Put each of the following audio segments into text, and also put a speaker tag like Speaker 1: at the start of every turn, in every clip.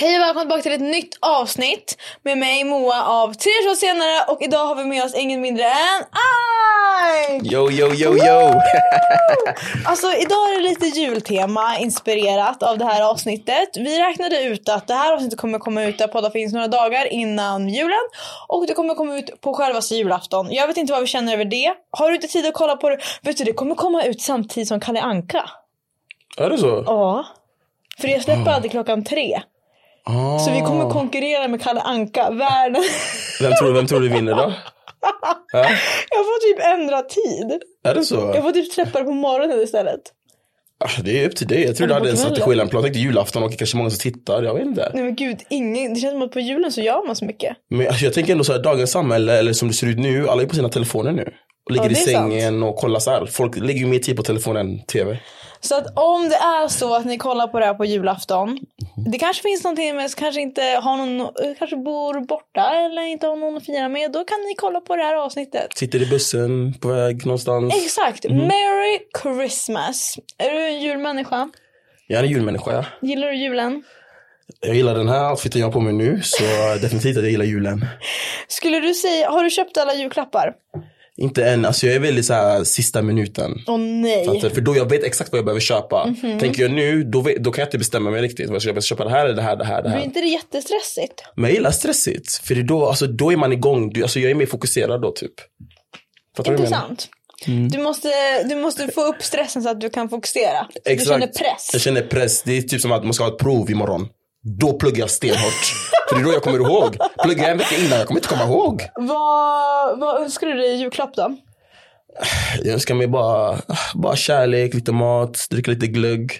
Speaker 1: Hej och välkomna tillbaka till ett nytt avsnitt med mig Moa av Tre år senare och idag har vi med oss ingen mindre än Aj!
Speaker 2: Yo, yo, yo, yo!
Speaker 1: Alltså idag är det lite jultema inspirerat av det här avsnittet. Vi räknade ut att det här avsnittet kommer komma ut där poddar finns några dagar innan julen och det kommer komma ut på självaste julafton. Jag vet inte vad vi känner över det. Har du inte tid att kolla på det? Vet du det kommer komma ut samtidigt som Kalle Anka.
Speaker 2: Är det så?
Speaker 1: Ja. För jag släpper alltid klockan tre.
Speaker 2: Ah.
Speaker 1: Så vi kommer konkurrera med Kalle Anka, världen.
Speaker 2: Vem tror, vem tror du vinner då? Ja?
Speaker 1: Jag får typ ändra tid.
Speaker 2: Är det så?
Speaker 1: Jag får typ släppa det på morgonen istället.
Speaker 2: Ah, Det är upp till dig. Jag tror
Speaker 1: Eller på
Speaker 2: du hade en
Speaker 1: kvällen.
Speaker 2: strategi eller en plan. Jag tänkte julafton och kanske många som tittar. Jag vet inte.
Speaker 1: Nej men gud, ingen, det känns som att på julen så gör man så mycket.
Speaker 2: Men alltså, jag tänker ändå så här, dagens samhälle, eller som det ser ut nu, alla är på sina telefoner nu. Och ligger
Speaker 1: Ja,
Speaker 2: i
Speaker 1: det är sant.
Speaker 2: sängen och kollar så här. Folk lägger ju mer tid på telefonen än tv.
Speaker 1: Så att om det är så att ni kollar på det här på julafton. Det kanske finns någonting men kanske inte har någon, kanske bor borta eller inte har någon att fira med. Då kan ni kolla på det här avsnittet.
Speaker 2: Sitter i bussen, på väg någonstans.
Speaker 1: Exakt, Merry Christmas. Är du en julmänniska?
Speaker 2: Jag är en julmänniska. ja.
Speaker 1: Gillar du julen?
Speaker 2: Jag gillar den här outfiten jag har på mig nu, så definitivt att jag gillar julen.
Speaker 1: Skulle du säga, har du köpt alla julklappar?
Speaker 2: Inte än, alltså jag är väldigt så här sista minuten.
Speaker 1: Åh nej.
Speaker 2: Fattar du? eh, För då jag vet exakt vad jag behöver köpa.
Speaker 1: Mhm.
Speaker 2: Tänker jag nu, då, vet, då kan jag inte bestämma mig riktigt. Vad jag ska jag köpa det här eller det här, det här, det
Speaker 1: Blir
Speaker 2: här.
Speaker 1: inte det jättestressigt?
Speaker 2: Men jag gillar stressigt. För det är då, alltså, då är man igång. Du, alltså, jag är mer fokuserad då typ. Fattar du vad jag menar?
Speaker 1: Intressant. Du, måste, du måste få upp stressen så att du kan fokusera. Så Du känner press.
Speaker 2: Jag känner press. Det är typ som att man ska ha ett prov imorgon. Då pluggar jag stenhårt. för det är då jag kommer ihåg. Pluggar jag en vecka innan, jag kommer inte komma ihåg.
Speaker 1: Vad, vad önskar du dig i julklapp då?
Speaker 2: Jag önskar mig bara, ah, bara kärlek, lite mat, dricka lite glögg.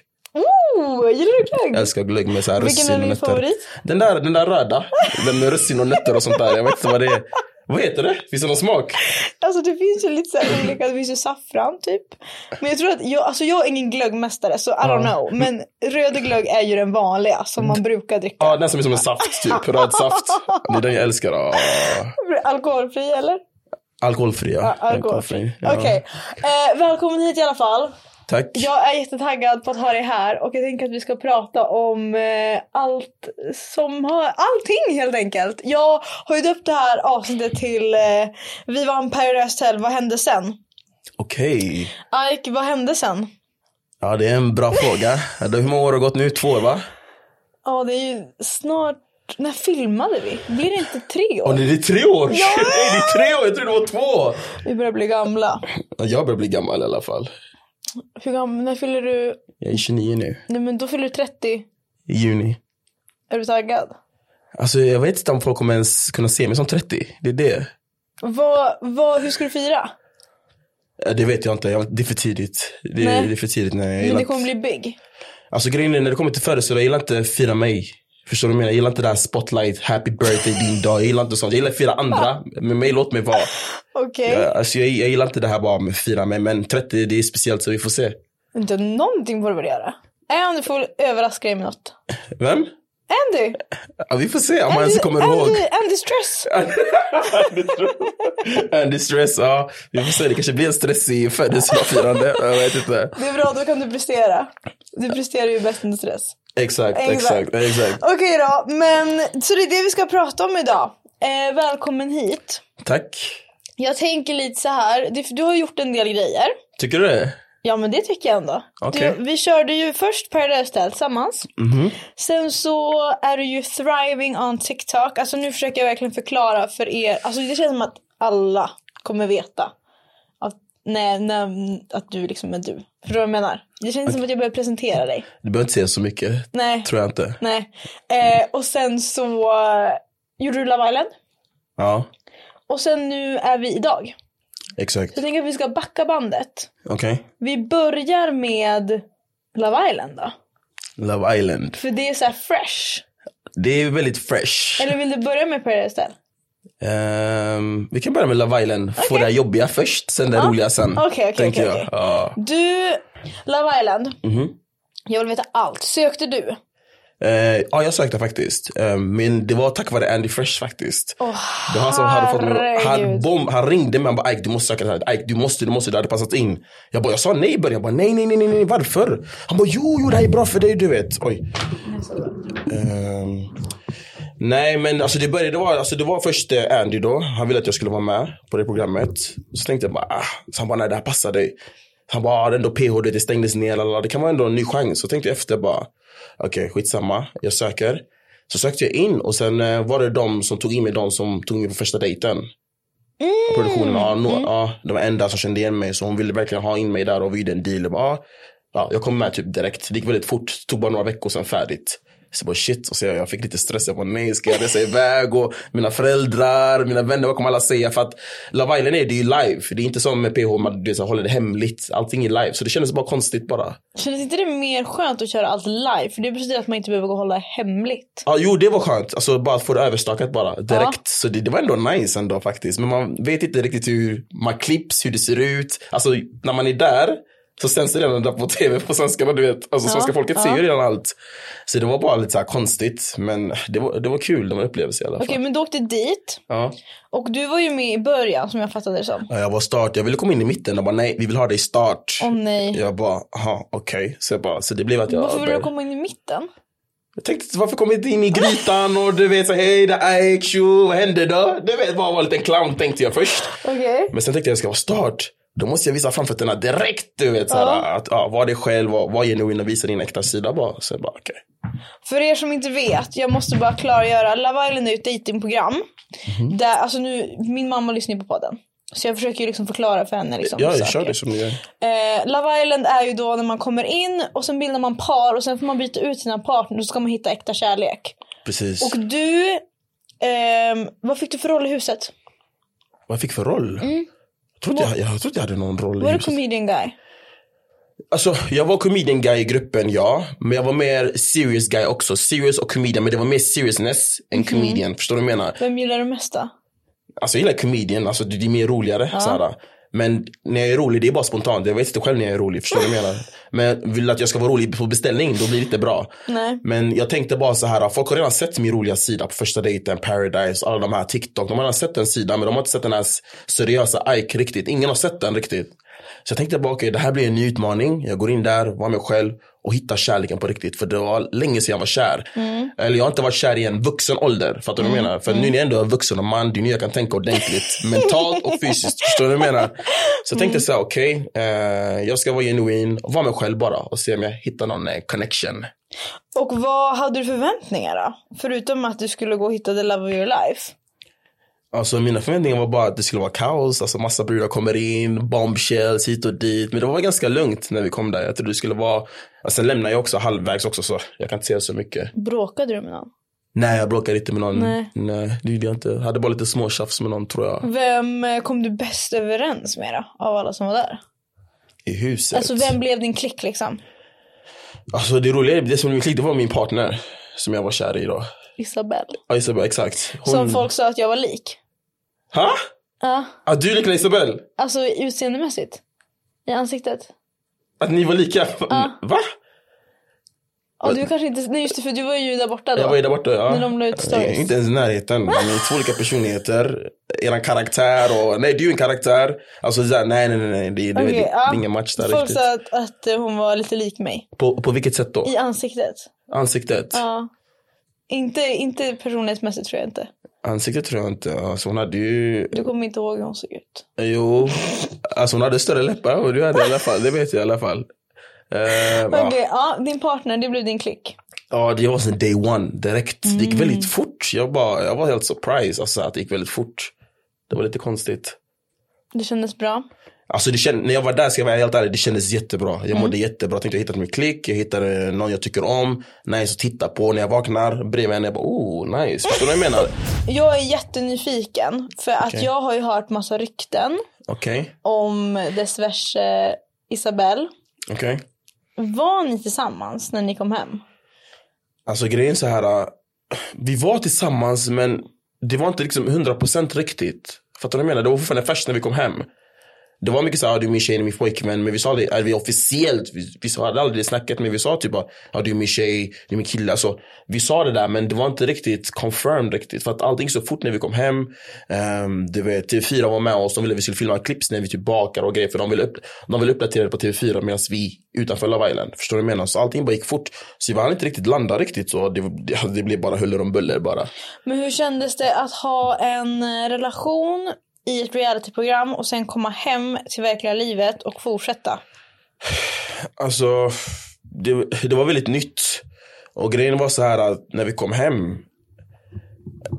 Speaker 1: Oh, gillar du
Speaker 2: Jag
Speaker 1: glögg?
Speaker 2: älskar glögg med så här
Speaker 1: Vilken är
Speaker 2: russin och
Speaker 1: din
Speaker 2: nötter.
Speaker 1: favorit?
Speaker 2: Den där, den där röda. Den med russin och nötter och sånt där. Jag vet inte vad det är. Vad heter det? Finns det någon smak?
Speaker 1: Alltså det finns ju lite så här olika, det finns ju saffran typ. Men jag tror att, jag, alltså jag är ingen glöggmästare så I don't know. Men Mm. röd glögg är ju den vanliga som man brukar dricka.
Speaker 2: Ja, den som är som en saft typ. Röd saft. Det är den jag älskar. Ah.
Speaker 1: Alkoholfri eller?
Speaker 2: Alkoholfri ja.
Speaker 1: Ja, alkoholfri. Okej. Eh, välkommen hit i alla fall.
Speaker 2: Tack.
Speaker 1: Jag är jättetaggad på att ha dig här och jag tänker att vi ska prata om eh, allt som har, allting helt enkelt. Jag har ju döpt det här avsnittet till eh, Vi vann Paradise Hotel, vad hände sen?
Speaker 2: Okej.
Speaker 1: Ike, vad hände sen?
Speaker 2: Ja, det är en bra fråga. Det- Hur många år har gått nu? Två år va?
Speaker 1: Ja det är ju snart, när filmade vi? Blir det inte tre
Speaker 2: Åh
Speaker 1: år?
Speaker 2: nej, det är tre år! Shit, nej, det är tre år! Jag trodde det var två!
Speaker 1: Vi börjar bli gamla.
Speaker 2: Ja, Jag börjar bli gammal i alla fall.
Speaker 1: Hur gammal, när fyller du?
Speaker 2: Jag är 29 nu.
Speaker 1: Nej men då fyller du 30.
Speaker 2: I juni.
Speaker 1: Är du taggad?
Speaker 2: Alltså jag vet inte om folk kommer ens kunna se mig som 30. Det är det.
Speaker 1: Vad, vad, hur ska du fira?
Speaker 2: Ja, Det vet jag inte. Jag- Det är för tidigt. Det är,
Speaker 1: Nej.
Speaker 2: det är för tidigt. Nej, jag
Speaker 1: Men
Speaker 2: gillar
Speaker 1: det kommer
Speaker 2: inte-
Speaker 1: bli big.
Speaker 2: Alltså grejen är när det kommer till födelsedag, jag gillar inte fira mig. Förstår du vad jag menar? Jag gillar inte det här spotlight, happy birthday din dag. Jag gillar inte sånt. Jag gillar att fira andra. Med mig, låt mig vara.
Speaker 1: Okej.
Speaker 2: Jag, alltså, jag, jag gillar inte det här bara med fira mig. Men 30 det är speciellt så vi får se.
Speaker 1: Inte någonting borde du göra. Andy får överraska dig med något.
Speaker 2: Vem?
Speaker 1: Andy!
Speaker 2: Ja, vi får se om man ens
Speaker 1: Andy,
Speaker 2: kommer ihåg.
Speaker 1: Andy, Andy stress!
Speaker 2: Andy stress, ja. Vi får se, det kanske blir en stressig födelsedagsfirande. Jag vet inte.
Speaker 1: Det är bra, då kan du prestera. Du presterar ju bäst under stress.
Speaker 2: Exakt,
Speaker 1: Exakt.
Speaker 2: exakt, exakt.
Speaker 1: Okej då, men så det är det vi ska prata om idag. Eh, välkommen hit.
Speaker 2: Tack.
Speaker 1: Jag tänker lite så här, det- du har gjort en del grejer.
Speaker 2: Tycker du det?
Speaker 1: Ja men det tycker jag ändå.
Speaker 2: Okej. Mhm.
Speaker 1: Du, vi körde ju först Paradise Hotel tillsammans. Sen så är du ju thriving on TikTok. Alltså nu försöker jag verkligen förklara för er. Alltså det känns som att alla kommer veta. Att, nej, nej, att du liksom är du. Förstår du vad jag menar? Det känns som att jag behöver presentera dig.
Speaker 2: Du behöver inte säga så mycket.
Speaker 1: Nej.
Speaker 2: Tror jag inte.
Speaker 1: Nej. Eh, och sen så eh, gjorde du Love Island.
Speaker 2: Ja,
Speaker 1: Och sen nu är vi idag.
Speaker 2: exakt.
Speaker 1: Så jag tänker att vi ska backa bandet.
Speaker 2: Okej.
Speaker 1: Vi börjar med Love Island då?
Speaker 2: Love Island.
Speaker 1: För det är så här fresh.
Speaker 2: Det är väldigt fresh.
Speaker 1: Eller vill du börja med Paradise Hotel?
Speaker 2: Ehm, vi kan börja med Love Island. Få det här jobbiga först, sen det roliga sen.
Speaker 1: Okej, okej,
Speaker 2: tänker
Speaker 1: okej,
Speaker 2: jag.
Speaker 1: okej.
Speaker 2: Ja.
Speaker 1: Du, Love Island.
Speaker 2: Mhm.
Speaker 1: Jag vill veta allt. Sökte du?
Speaker 2: Eh, ja, jag sökte faktiskt. Eh, men det var tack vare Andy Fresh faktiskt. det var han som hade fått mig han,
Speaker 1: herregud.
Speaker 2: bom, han ringde mig han bara Ike du måste söka det här. Ike du måste, du måste, det hade passat in. Jag bara, jag sa nej i början. Jag bara nej, nej, nej, nej, nej, varför? Han bara jo, jo det här är bra för dig du vet. Oj. Ehm, nej men alltså det började, det var, alltså, det var först eh, Andy då. Han ville att jag skulle vara med på det programmet. Så tänkte jag bara, ah. Så han bara nej det här passar dig. Han bara, ah, det är ändå PH, det stängdes ner, lalala. det kan vara ändå en ny chans. Så tänkte jag efter bara, okej skitsamma, jag söker. Så sökte jag in och sen eh, var det de som tog in mig, de som tog in mig på första dejten. Produktionen, ja, no, ja, de var enda som kände igen mig så hon ville verkligen ha in mig där och vi gjorde en deal. Jag, bara, ja, ja, jag kom med typ direkt, det gick väldigt fort, tog bara några veckor sen färdigt. Så jag bara shit, och så jag, jag fick lite stress, jag bara nej ska jag resa iväg och mina föräldrar, mina vänner, vad kommer alla säga? För att Love Island är det är ju live, det är inte som med PH, man du vet, så håller det hemligt, allting är live. Så det kändes bara konstigt bara.
Speaker 1: Kändes inte det mer skönt att köra allt live? För det betyder att man inte behöver gå och hålla hemligt.
Speaker 2: Ja, jo det var skönt. Alltså bara att få det överstakat bara direkt. Så det, det var ändå nice ändå faktiskt. Men man vet inte riktigt hur man klipps, hur det ser ut. Alltså när man är där så sänds det redan där på tv på svenska. men Du vet, alltså svenska folket ser ju redan allt. Så det var bara lite så här konstigt. Men det var, det var kul, det var en upplevelse i alla fall.
Speaker 1: Okej, men du åkte dit.
Speaker 2: Ja.
Speaker 1: Och du var ju med i början som jag fattade det som.
Speaker 2: Ja, Jag var start, jag ville komma in i mitten. De bara nej, vi vill ha dig i start.
Speaker 1: Åh nej.
Speaker 2: Jag bara, aha, okej. Så jag bara, så det blev att jag
Speaker 1: Varför vill du
Speaker 2: började-
Speaker 1: komma in i mitten?
Speaker 2: Jag tänkte varför kom jag inte in i grytan och du vet så hej det är Ike, tjo, vad hände då? Du vet bara vara en liten clown tänkte jag först.
Speaker 1: Okej.
Speaker 2: Men sen tänkte jag jag ska vara start. Då måste jag visa framfötterna direkt du vet såhär, att ja, var dig själv, var, var genuin och visa din äkta sida bara. Så jag bara okej.
Speaker 1: För er som inte vet, jag måste bara klargöra. Love Island är ju ett dejtingprogram.
Speaker 2: Mhm.
Speaker 1: Där, alltså nu, min mamma lyssnar ju på podden. Så jag försöker ju liksom förklara för henne. Liksom,
Speaker 2: Ja, jag
Speaker 1: saker.
Speaker 2: kör det som ni gör.
Speaker 1: Eh, Love Island är ju då när man kommer in och sen bildar man par och sen får man byta ut sina partner och så ska man hitta äkta kärlek.
Speaker 2: Precis.
Speaker 1: Och du, ehm, vad fick du för roll i huset?
Speaker 2: Vad jag fick för roll? Jag trodde jag, jag trodde jag hade någon roll i
Speaker 1: Var du
Speaker 2: huset.
Speaker 1: comedian guy?
Speaker 2: Alltså jag var comedian guy i gruppen ja, men jag var mer serious guy också. Serious och comedian, men det var mer seriousness än comedian. Förstår du vad jag menar?
Speaker 1: Vem gillar du mest då?
Speaker 2: Alltså jag gillar comedian, alltså det det är mer roligare. Såhär. Men när jag är rolig, det är bara spontant. Jag vet inte själv när jag är rolig, förstår du vad jag menar? Men vill att jag ska vara rolig på beställning, då blir det inte bra.
Speaker 1: Nej.
Speaker 2: Men jag tänkte bara så här, folk har redan sett min roliga sida på första dejten, Paradise, alla de här TikTok. De har redan sett den sidan, men de har inte sett den här seriösa Ike riktigt. Ingen har sett den riktigt. Så jag tänkte bara, okej, det här blir en ny utmaning. Jag går in där, var mig själv och hittar kärleken på riktigt. För det var länge sedan jag var kär. Eller jag har inte varit kär i en vuxen ålder. Fattar du vad jag menar? För nu när jag ändå är vuxen och man, det är nu jag kan tänka ordentligt. mentalt och fysiskt. Förstår du vad jag menar? Så jag tänkte så här, okej, eh, jag ska vara genuin och vara mig själv bara och se om jag hittar någon eh, connection.
Speaker 1: Och vad hade du förväntningar då? Förutom att du skulle gå och hitta the love of your life.
Speaker 2: Alltså mina förväntningar var bara att det skulle vara kaos, alltså massa brudar kommer in, bombshells hit och dit. Men det var ganska lugnt när vi kom där. Jag trodde det skulle vara, alltså, sen lämnade jag också halvvägs också så jag kan inte säga så mycket.
Speaker 1: Bråkade du med någon?
Speaker 2: Nej jag bråkade inte med någon.
Speaker 1: Nej.
Speaker 2: Nej det gjorde jag inte. Jag hade bara lite småtjafs med någon tror jag.
Speaker 1: Vem eh, kom du bäst överens med då? Av alla som var där?
Speaker 2: I huset.
Speaker 1: Alltså vem blev din klick liksom?
Speaker 2: Alltså, det roliga, det som blev klick, det var min partner. Som jag var kär i då.
Speaker 1: Isabelle.
Speaker 2: Ja Isabel, exakt. Hon...
Speaker 1: Som folk sa att jag var lik.
Speaker 2: Ha?
Speaker 1: Ja.
Speaker 2: Att du liknar Isabel?
Speaker 1: Alltså utseendemässigt. I ansiktet.
Speaker 2: Att ni var lika? Va?
Speaker 1: Ja du kanske inte, nej just det för du var ju där borta då.
Speaker 2: Jag var ju där borta. Ja.
Speaker 1: När de la ut stories.
Speaker 2: Inte ens i närheten. Ni är två olika personligheter. Eran karaktär och, nej du är en karaktär. Alltså såhär, nej nej nej, nej. Det, det,
Speaker 1: Okej,
Speaker 2: det, det
Speaker 1: ja.
Speaker 2: är ingen match där
Speaker 1: Folk
Speaker 2: riktigt.
Speaker 1: sa att, att eh, hon var lite lik mig.
Speaker 2: På, på vilket sätt då?
Speaker 1: I ansiktet.
Speaker 2: Ansiktet?
Speaker 1: Ja. Inte, inte personlighetsmässigt tror jag inte.
Speaker 2: Ansiktet tror jag inte. Alltså hon hade ju,
Speaker 1: Du kommer inte ihåg hur hon såg ut.
Speaker 2: jo. Alltså hon hade större läppar än vad du hade i alla fall. Det vet jag i alla fall. Eh,
Speaker 1: Okej,
Speaker 2: ja.
Speaker 1: ja. din partner, det blev din klick.
Speaker 2: Ja, det var sen day one direkt. Det gick
Speaker 1: Mm.
Speaker 2: väldigt fort. Jag, bara, jag var helt surprised alltså, att det gick väldigt fort. Det var lite konstigt.
Speaker 1: Det kändes bra.
Speaker 2: Alltså det känd, när jag var där ska jag vara helt ärlig, det kändes jättebra. Jag mådde jättebra. Jag tänkte jag hittat min klick, jag hittade någon jag tycker om. Nice att titta på när jag vaknar bredvid henne. Jag bara oh nice. Förstår du vad jag menar?
Speaker 1: Jag är jättenyfiken för att jag har ju hört massa rykten
Speaker 2: Okej,
Speaker 1: om dess värsta Isabelle.
Speaker 2: okej.
Speaker 1: Var ni tillsammans när ni kom hem?
Speaker 2: Alltså grejen är så här. äh, Vi var tillsammans men det var inte liksom 100% riktigt. Fattar du vad jag menar? Det var fortfarande färskt när vi kom hem. Det var mycket så här, "Ah, du är min tjej, du är min pojkvän. Men vi sa det, är vi officiellt, vi, vi sa- hade aldrig snacket men vi sa typ bara, ja du är min tjej, du är min kille. Alltså, vi sa det där men det var inte riktigt confirmed riktigt. För att allting så fort när vi kom hem, ehm, du vet TV4 var med oss, de ville vi skulle filma klipps när vi typ bakar och grejer. För de ville, upp, de ville uppdatera det på TV4 medan vi utanför Love Island. Förstår du vad jag menar? Så allting bara gick fort. Så vi hann inte riktigt landa riktigt. Så det, det, det blev bara huller om buller bara.
Speaker 1: Men hur kändes det att ha en eh, relation i ett realityprogram och sen komma hem till verkliga livet och fortsätta?
Speaker 2: Alltså, det, det var väldigt nytt. Och grejen var så här att när vi kom hem,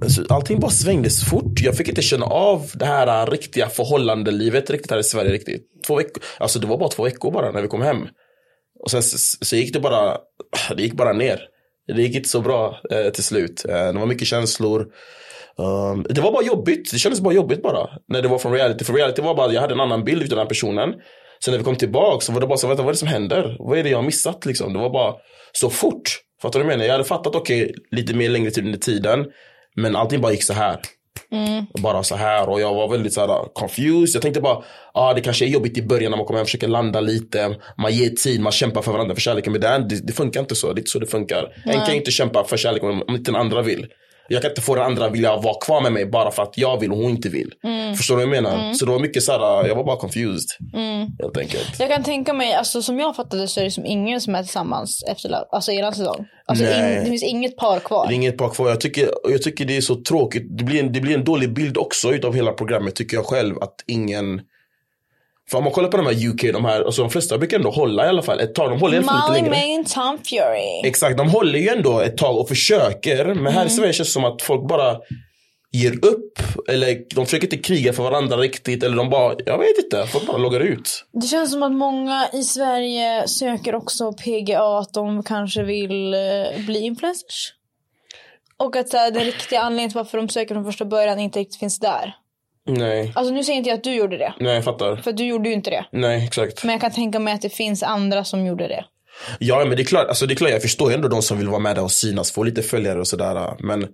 Speaker 2: alltså, allting bara svängdes fort. Jag fick inte känna av det här äh, riktiga förhållandelivet riktigt här i Sverige. riktigt. Två veckor, alltså det var bara två veckor bara när vi kom hem. Och sen så, så gick det bara, det gick bara ner. Det gick inte så bra eh, till slut. Eh, det var mycket känslor. Um, det var bara jobbigt. Det kändes bara jobbigt bara. När det var från reality. För reality var bara, jag hade en annan bild av den här personen. Sen när vi kom tillbaka så var det bara så, vänta vad är det som händer? Vad är det jag har missat liksom? Det var bara så fort. Fattar du vad jag menar? Jag hade fattat, okej, lite mer längre tid under tiden. Men allting bara gick så här. Bara så här och jag var väldigt så här ah, confused. Jag tänkte bara, ah, det kanske är jobbigt i början när man kommer hem, försöker landa lite. Man ger tid, man kämpar för varandra för kärleken. Men det, är- det, det funkar inte så, det är inte så det funkar. En kan ju inte kämpa för kärleken om, om inte den andra vill. Jag kan inte få den andra att vilja vara kvar med mig bara för att jag vill och hon inte vill. Förstår du vad jag menar? Så det var mycket så här, ah, jag var bara confused. Helt enkelt.
Speaker 1: Jag kan tänka mig, alltså som jag fattade så är det som ingen som är tillsammans efter Love- alltså eran säsong. Alltså
Speaker 2: Nej.
Speaker 1: in, det finns inget par kvar.
Speaker 2: Det är inget par kvar. Jag tycker, jag tycker det är så tråkigt. Det blir, en, det blir en dålig bild också utav hela programmet tycker jag själv. Att ingen... För om man kollar på de här UK, de här, alltså de flesta brukar ändå hålla i alla fall ett tag. De håller i alla fall lite
Speaker 1: Molly
Speaker 2: längre.
Speaker 1: May och Tom Fury.
Speaker 2: Exakt, de håller ju ändå ett tag och försöker. Men här i Sverige känns det som att folk bara ger upp. Eller de försöker inte kriga för varandra riktigt. Eller de bara, jag vet inte, folk bara loggar ut.
Speaker 1: Det känns som att många i Sverige söker också PGA att de kanske vill eh, bli influencers. Och att så här, den riktiga anledningen till varför de söker från första början inte riktigt finns där.
Speaker 2: Nej,
Speaker 1: Alltså nu säger inte jag att du gjorde det.
Speaker 2: nej jag fattar.
Speaker 1: För du gjorde ju inte det.
Speaker 2: Nej, exakt.
Speaker 1: Men jag kan tänka mig att det finns andra som gjorde det.
Speaker 2: Ja men det är klart, alltså det är klart jag förstår ju ändå de som vill vara med där och synas, få lite följare och sådär. Men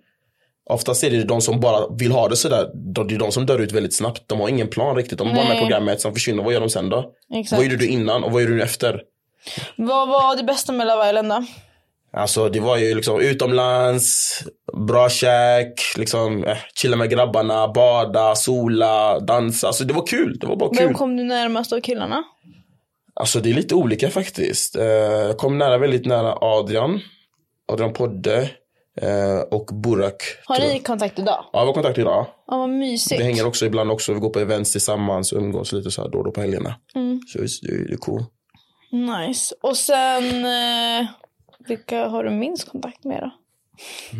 Speaker 2: oftast är det ju de som bara vill ha det sådär, de- det är de som dör ut väldigt snabbt. De har ingen plan riktigt, de är bara med i
Speaker 1: Nej.
Speaker 2: programmet, sen försvinner, vad gör de sen då?
Speaker 1: Exakt.
Speaker 2: Vad gjorde du innan och vad gjorde du efter?
Speaker 1: Vad var det bästa med Love Island då?
Speaker 2: Alltså det var ju liksom utomlands, bra käk, liksom, eh, chilla med grabbarna, bada, sola, dansa. Alltså det var kul, det var bara kul.
Speaker 1: Vem kom du närmast av killarna?
Speaker 2: Alltså det är lite olika faktiskt. Eh, Jag kom nära, väldigt nära Adrian. Adrian Podde eh, och Burak.
Speaker 1: Har
Speaker 2: tror
Speaker 1: ni
Speaker 2: jag.
Speaker 1: kontakt idag?
Speaker 2: Ja, vi har kontakt idag.
Speaker 1: Ja vad mysigt.
Speaker 2: Vi hänger också ibland också. Vi går på events tillsammans och umgås lite så här då och då på helgerna.
Speaker 1: Mm.
Speaker 2: Så visst, det är, det är cool.
Speaker 1: Nice. Och sen, eh, vilka har du minst kontakt med då?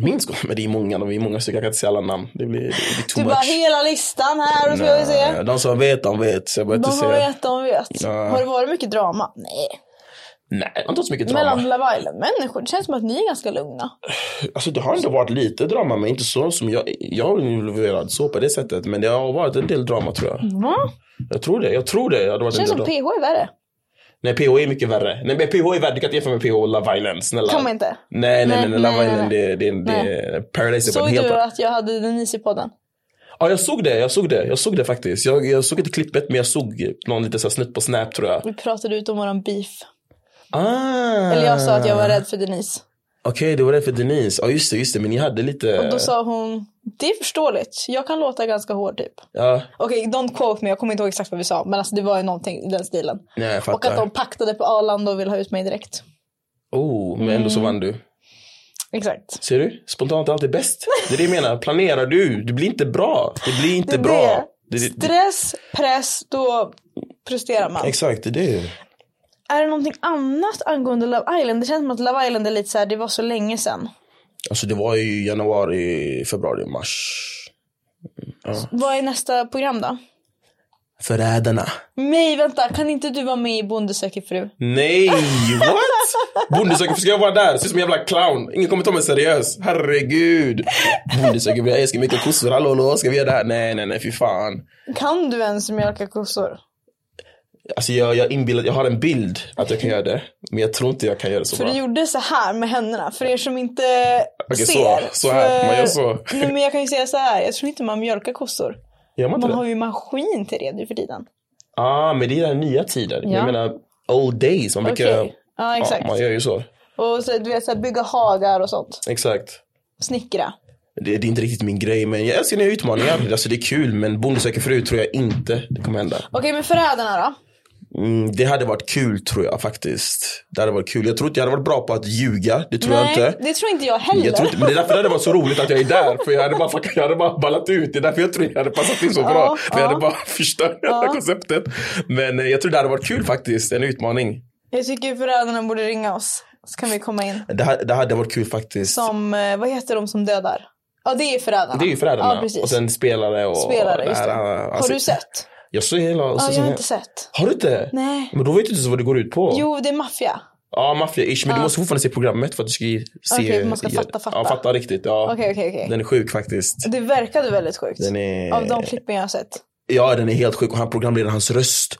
Speaker 2: Minns gott, men det är många. De är många stycken. Jag kan inte säga alla namn. Det blir, det blir too
Speaker 1: Du
Speaker 2: much.
Speaker 1: Typ bara hela listan här och så ska vi se.
Speaker 2: Nej, de som vet, de vet. Så jag behöver
Speaker 1: De
Speaker 2: inte
Speaker 1: som
Speaker 2: säga.
Speaker 1: vet, de vet.
Speaker 2: Nej.
Speaker 1: Har det varit mycket drama? Nej.
Speaker 2: Nej, det har inte varit så mycket drama.
Speaker 1: Mellan Love Island-människor? Det känns som att ni är ganska lugna.
Speaker 2: Alltså det har ändå varit lite drama, men inte så som jag, jag är involverad så på det sättet. Men det har varit en del drama tror jag.
Speaker 1: Va?
Speaker 2: Jag tror det. Jag tror det. det hade varit
Speaker 1: Det känns
Speaker 2: en
Speaker 1: som
Speaker 2: del
Speaker 1: PH är värre.
Speaker 2: Nej PH är mycket värre. Nej men PH är värre, du kan inte jämföra med PH och Love Island snälla.
Speaker 1: Kan man inte?
Speaker 2: Nej nej nej, nej Love
Speaker 1: nej,
Speaker 2: Island
Speaker 1: nej.
Speaker 2: det, det, det,
Speaker 1: Nej.
Speaker 2: Paradise är på
Speaker 1: Såg
Speaker 2: en helt
Speaker 1: du att jag hade Denise i podden?
Speaker 2: Ja jag såg det, jag såg det, jag såg det faktiskt. Jag, jag såg inte klippet men jag såg någon liten så här snutt på Snap tror jag.
Speaker 1: Vi pratade ut om våran beef.
Speaker 2: Ah.
Speaker 1: Eller jag sa att jag var rädd för Denise.
Speaker 2: Okej det var det för Denise, ja just det, just det men ni hade lite.
Speaker 1: Och då sa hon, det är förståeligt. Jag kan låta ganska hård typ.
Speaker 2: Ja,
Speaker 1: Okej, don't quote me. Jag kommer inte ihåg exakt vad vi sa. Men alltså det var ju någonting i den stilen.
Speaker 2: nej jag
Speaker 1: Och att
Speaker 2: fattar.
Speaker 1: de paktade på Arlanda och ville ha ut mig direkt.
Speaker 2: Oh, men ändå så vann du.
Speaker 1: Exakt.
Speaker 2: Ser du? Spontant är alltid bäst. Det är det jag menar, planerar du, det blir inte bra. Det blir inte
Speaker 1: är
Speaker 2: bra.
Speaker 1: det.
Speaker 2: Det, det, det,
Speaker 1: Stress, press, då presterar man.
Speaker 2: exakt, det är det.
Speaker 1: Är det någonting annat angående Love Island? Det känns som att Love Island är lite så här, det var så länge sedan.
Speaker 2: Alltså det var ju januari, februari, mars.
Speaker 1: Vad är nästa program då?
Speaker 2: Förrädarna.
Speaker 1: Nej, vänta. Kan inte du vara med i Bonde söker fru?
Speaker 2: Nej, what? Bonde söker fru, ska jag vara där? Ser ut som en jävla clown. Ingen kommer ta mig seriöst. Herregud. Bonde söker fru, jag älskar mycket kossor. Hallå, hallå, ska vi göra det här? Nej, nej, nej, fy fan.
Speaker 1: Kan du ens mjölka kossor?
Speaker 2: Alltså jag, jag, inbillar, jag har en bild att jag kan göra det. Men jag tror inte jag kan göra det så,
Speaker 1: Så
Speaker 2: bra.
Speaker 1: du gjorde så här med händerna för er som inte
Speaker 2: Okej,
Speaker 1: ser.
Speaker 2: så. Så här, man gör så.
Speaker 1: Nej men jag kan ju säga så här. Jag tror inte man mjölkar kossor.
Speaker 2: Gör man inte
Speaker 1: Man
Speaker 2: det?
Speaker 1: har ju maskin till det nu för tiden.
Speaker 2: Ah, men det är den nya tiden.
Speaker 1: Ja.
Speaker 2: Jag menar old days. Man brukar
Speaker 1: Okej. Ja exakt.
Speaker 2: Ja, man gör ju så.
Speaker 1: Och så, du vet så här, bygga hagar och sånt.
Speaker 2: Exakt.
Speaker 1: Snickra.
Speaker 2: Det, det är inte riktigt min grej men jag älskar nya utmaningar. Alltså det är kul men Bonde söker fru tror jag inte det kommer hända.
Speaker 1: Okej men förrädarna då?
Speaker 2: Mm, det hade varit kul tror jag faktiskt. Det hade varit kul. Jag tror inte jag hade varit bra på att ljuga. Det tror jag inte.
Speaker 1: det tror inte jag heller.
Speaker 2: Jag tror inte, men det är därför det hade varit så roligt att jag är där. För jag hade bara, fucking- jag hade bara ballat ut. Det är därför jag tror jag hade passat in så bra. För jag hade bara förstört hela konceptet. Men eh, jag tror det hade varit kul faktiskt. En utmaning.
Speaker 1: Jag tycker förrädarna borde ringa oss. Så kan vi komma in.
Speaker 2: Det, ha- det hade varit kul faktiskt.
Speaker 1: Som, eh, vad heter de som dödar? Ja det är förrädarna.
Speaker 2: Det är ju föräldrarna.
Speaker 1: Ja precis.
Speaker 2: och sen spelare och...
Speaker 1: Spelare, just det.
Speaker 2: Nej, nej, nej.
Speaker 1: har
Speaker 2: Alltså,
Speaker 1: du sett?
Speaker 2: Jag såg hela... alltså,
Speaker 1: Ja,
Speaker 2: så-
Speaker 1: jag har inte sett.
Speaker 2: Har du inte?
Speaker 1: Nej.
Speaker 2: Men då vet du inte så vad det går ut på.
Speaker 1: Jo det är maffia.
Speaker 2: Ja, maffia-ish. Men du måste fortfarande se programmet för att du ska ju se...
Speaker 1: Okej, för man ska fatta, fatta.
Speaker 2: Ja, fatta riktigt. Ja.
Speaker 1: Okej okej okej.
Speaker 2: Den är sjuk faktiskt.
Speaker 1: Det verkade väldigt sjukt.
Speaker 2: Den är-
Speaker 1: Av de klippen jag har sett.
Speaker 2: Ja, den är helt sjuk. Och han programleder hans röst.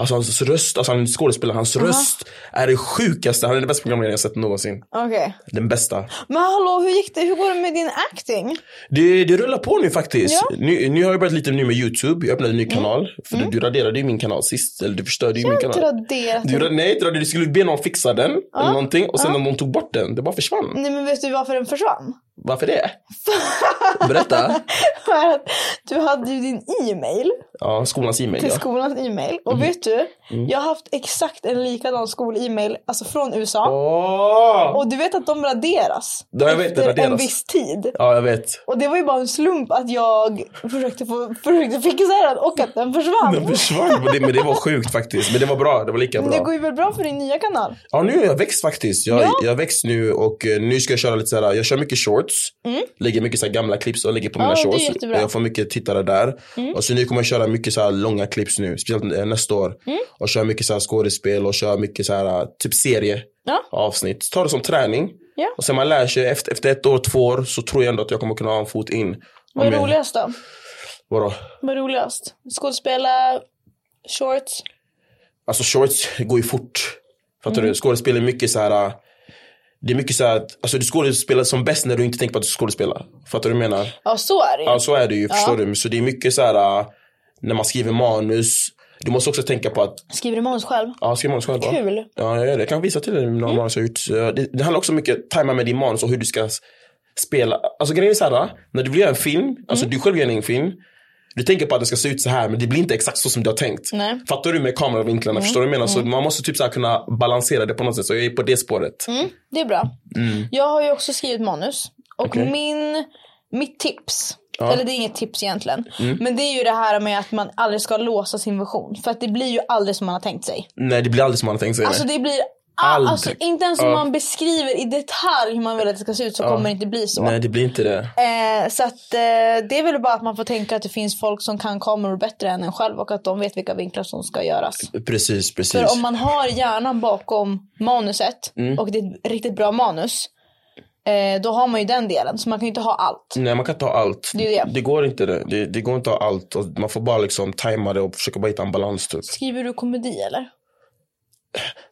Speaker 2: Alltså hans röst, alltså han skådespelar hans röst är det sjukaste. Han är den bästa programledaren jag sett någonsin.
Speaker 1: Okej.
Speaker 2: Den bästa.
Speaker 1: Men hallå hur gick det? Hur går det med din acting?
Speaker 2: Det, det rullar på nu faktiskt.
Speaker 1: Ja. Mm.
Speaker 2: Nu, nu har jag börjat lite nu med YouTube. Jag öppnade en ny kanal. För du, du raderade ju min kanal sist. Eller du förstörde ju min
Speaker 1: Jag har
Speaker 2: kanal.
Speaker 1: inte raderat
Speaker 2: Du,
Speaker 1: den.
Speaker 2: ra- nej, du, ra- du skulle be någon fixa den eller någonting och sen när de tog bort den, det bara försvann.
Speaker 1: Nej men vet du varför den försvann?
Speaker 2: Varför det? Berätta.
Speaker 1: För att du hade ju din e-mail
Speaker 2: Ja, skolans e-mail
Speaker 1: till
Speaker 2: ja. Mm.
Speaker 1: skolans e-mail. Och vet du? Jag har haft exakt en likadan skol-e-mail, alltså från USA.
Speaker 2: Åh!
Speaker 1: Och du vet att de raderas
Speaker 2: Ja, jag vet, det
Speaker 1: efter en
Speaker 2: raderas.
Speaker 1: viss tid.
Speaker 2: Ja, jag vet.
Speaker 1: Och det var ju bara en slump att jag försökte, få, försökte fixa den och att den försvann.
Speaker 2: Den försvann, men det, men det var sjukt faktiskt. Men det var bra, det var lika
Speaker 1: Men det går
Speaker 2: bra.
Speaker 1: ju väl bra för din nya kanal?
Speaker 2: Ja, nu har jag växt faktiskt. Jag,
Speaker 1: Ja.
Speaker 2: jag har växt nu och eh, nu ska jag köra lite såhär, jag kör mycket shorts. Lägger mycket såhär gamla clips och lägger på mina
Speaker 1: Mm. Ja, det är
Speaker 2: shorts.
Speaker 1: jättebra. Mm.
Speaker 2: Jag får mycket tittare där. Och så nu kommer jag köra mycket såhär långa clips nu, speciellt eh, nästa år.
Speaker 1: Mm.
Speaker 2: Och köra mycket såhär skådespel och köra mycket såhär eh, typ serie
Speaker 1: Ja.
Speaker 2: avsnitt. Ta det som träning.
Speaker 1: Ja.
Speaker 2: Och sen man lär sig, efter, efter ett år, två år så tror jag ändå att jag kommer kunna ha en fot in.
Speaker 1: Vad
Speaker 2: Om
Speaker 1: är
Speaker 2: jag-
Speaker 1: roligast då?
Speaker 2: Vadå?
Speaker 1: Vad är roligast? Skådespela, shorts?
Speaker 2: Alltså shorts går ju fort. Fattar
Speaker 1: Mm.
Speaker 2: du? Skådespel är mycket så här. äh, Det är mycket så här att alltså, du skådespelar som bäst när du inte tänker på att du skådespelar. Fattar du vad jag menar?
Speaker 1: Ja så är det ju.
Speaker 2: Ja så är det ju, förstår du? Så det är mycket så här äh, när man skriver manus. Du måste också tänka på att,
Speaker 1: Skriver du manus själv?
Speaker 2: ja skriver manus själv va?
Speaker 1: Kul. Mm.
Speaker 2: Ja jag gör det. Jag kan visa till dig några manus jag har gjort. Så Det, det handlar också mycket tajma med din manus och hur du ska s- spela. Alltså grejen är så här, äh, när du vill göra en film, alltså
Speaker 1: Mm.
Speaker 2: du själv gör en film. Du tänker på att det ska se ut så här men det blir inte exakt så som du har tänkt.
Speaker 1: Nej. Mm.
Speaker 2: Fattar du med kameravinklarna? Förstår du vad jag menar? Så man måste typ så här kunna balansera det på något sätt. Så jag är på det spåret.
Speaker 1: Mm, det är bra. Jag har ju också skrivit manus. Och
Speaker 2: Mm. Okej.
Speaker 1: min, mitt tips, eller det är inget tips egentligen.
Speaker 2: Mm.
Speaker 1: Men det är ju det här med att man aldrig ska låsa sin version. För att det blir ju aldrig som man har tänkt sig.
Speaker 2: Nej det blir aldrig som man har tänkt sig.
Speaker 1: Alltså det blir
Speaker 2: Aldrig.
Speaker 1: Alltså, inte ens om
Speaker 2: Ja.
Speaker 1: man beskriver i detalj hur man vill att det ska se ut så kommer det inte bli så.
Speaker 2: Nej det blir inte det.
Speaker 1: Eh, så att, eh, det är väl bara att man får tänka att det finns folk som kan kameror bättre än en själv och att de vet vilka vinklar som ska göras.
Speaker 2: Precis, precis. Mm.
Speaker 1: För om man har hjärnan bakom manuset och det är ett riktigt bra manus. Eh, då har man ju den delen. Så man kan ju inte ha allt.
Speaker 2: Nej man kan inte ha allt.
Speaker 1: Det är det.
Speaker 2: går inte det. det. Det går inte att ha allt. Och man får bara liksom tajma det och försöka bara hitta en balans typ.
Speaker 1: Skriver du komedi eller?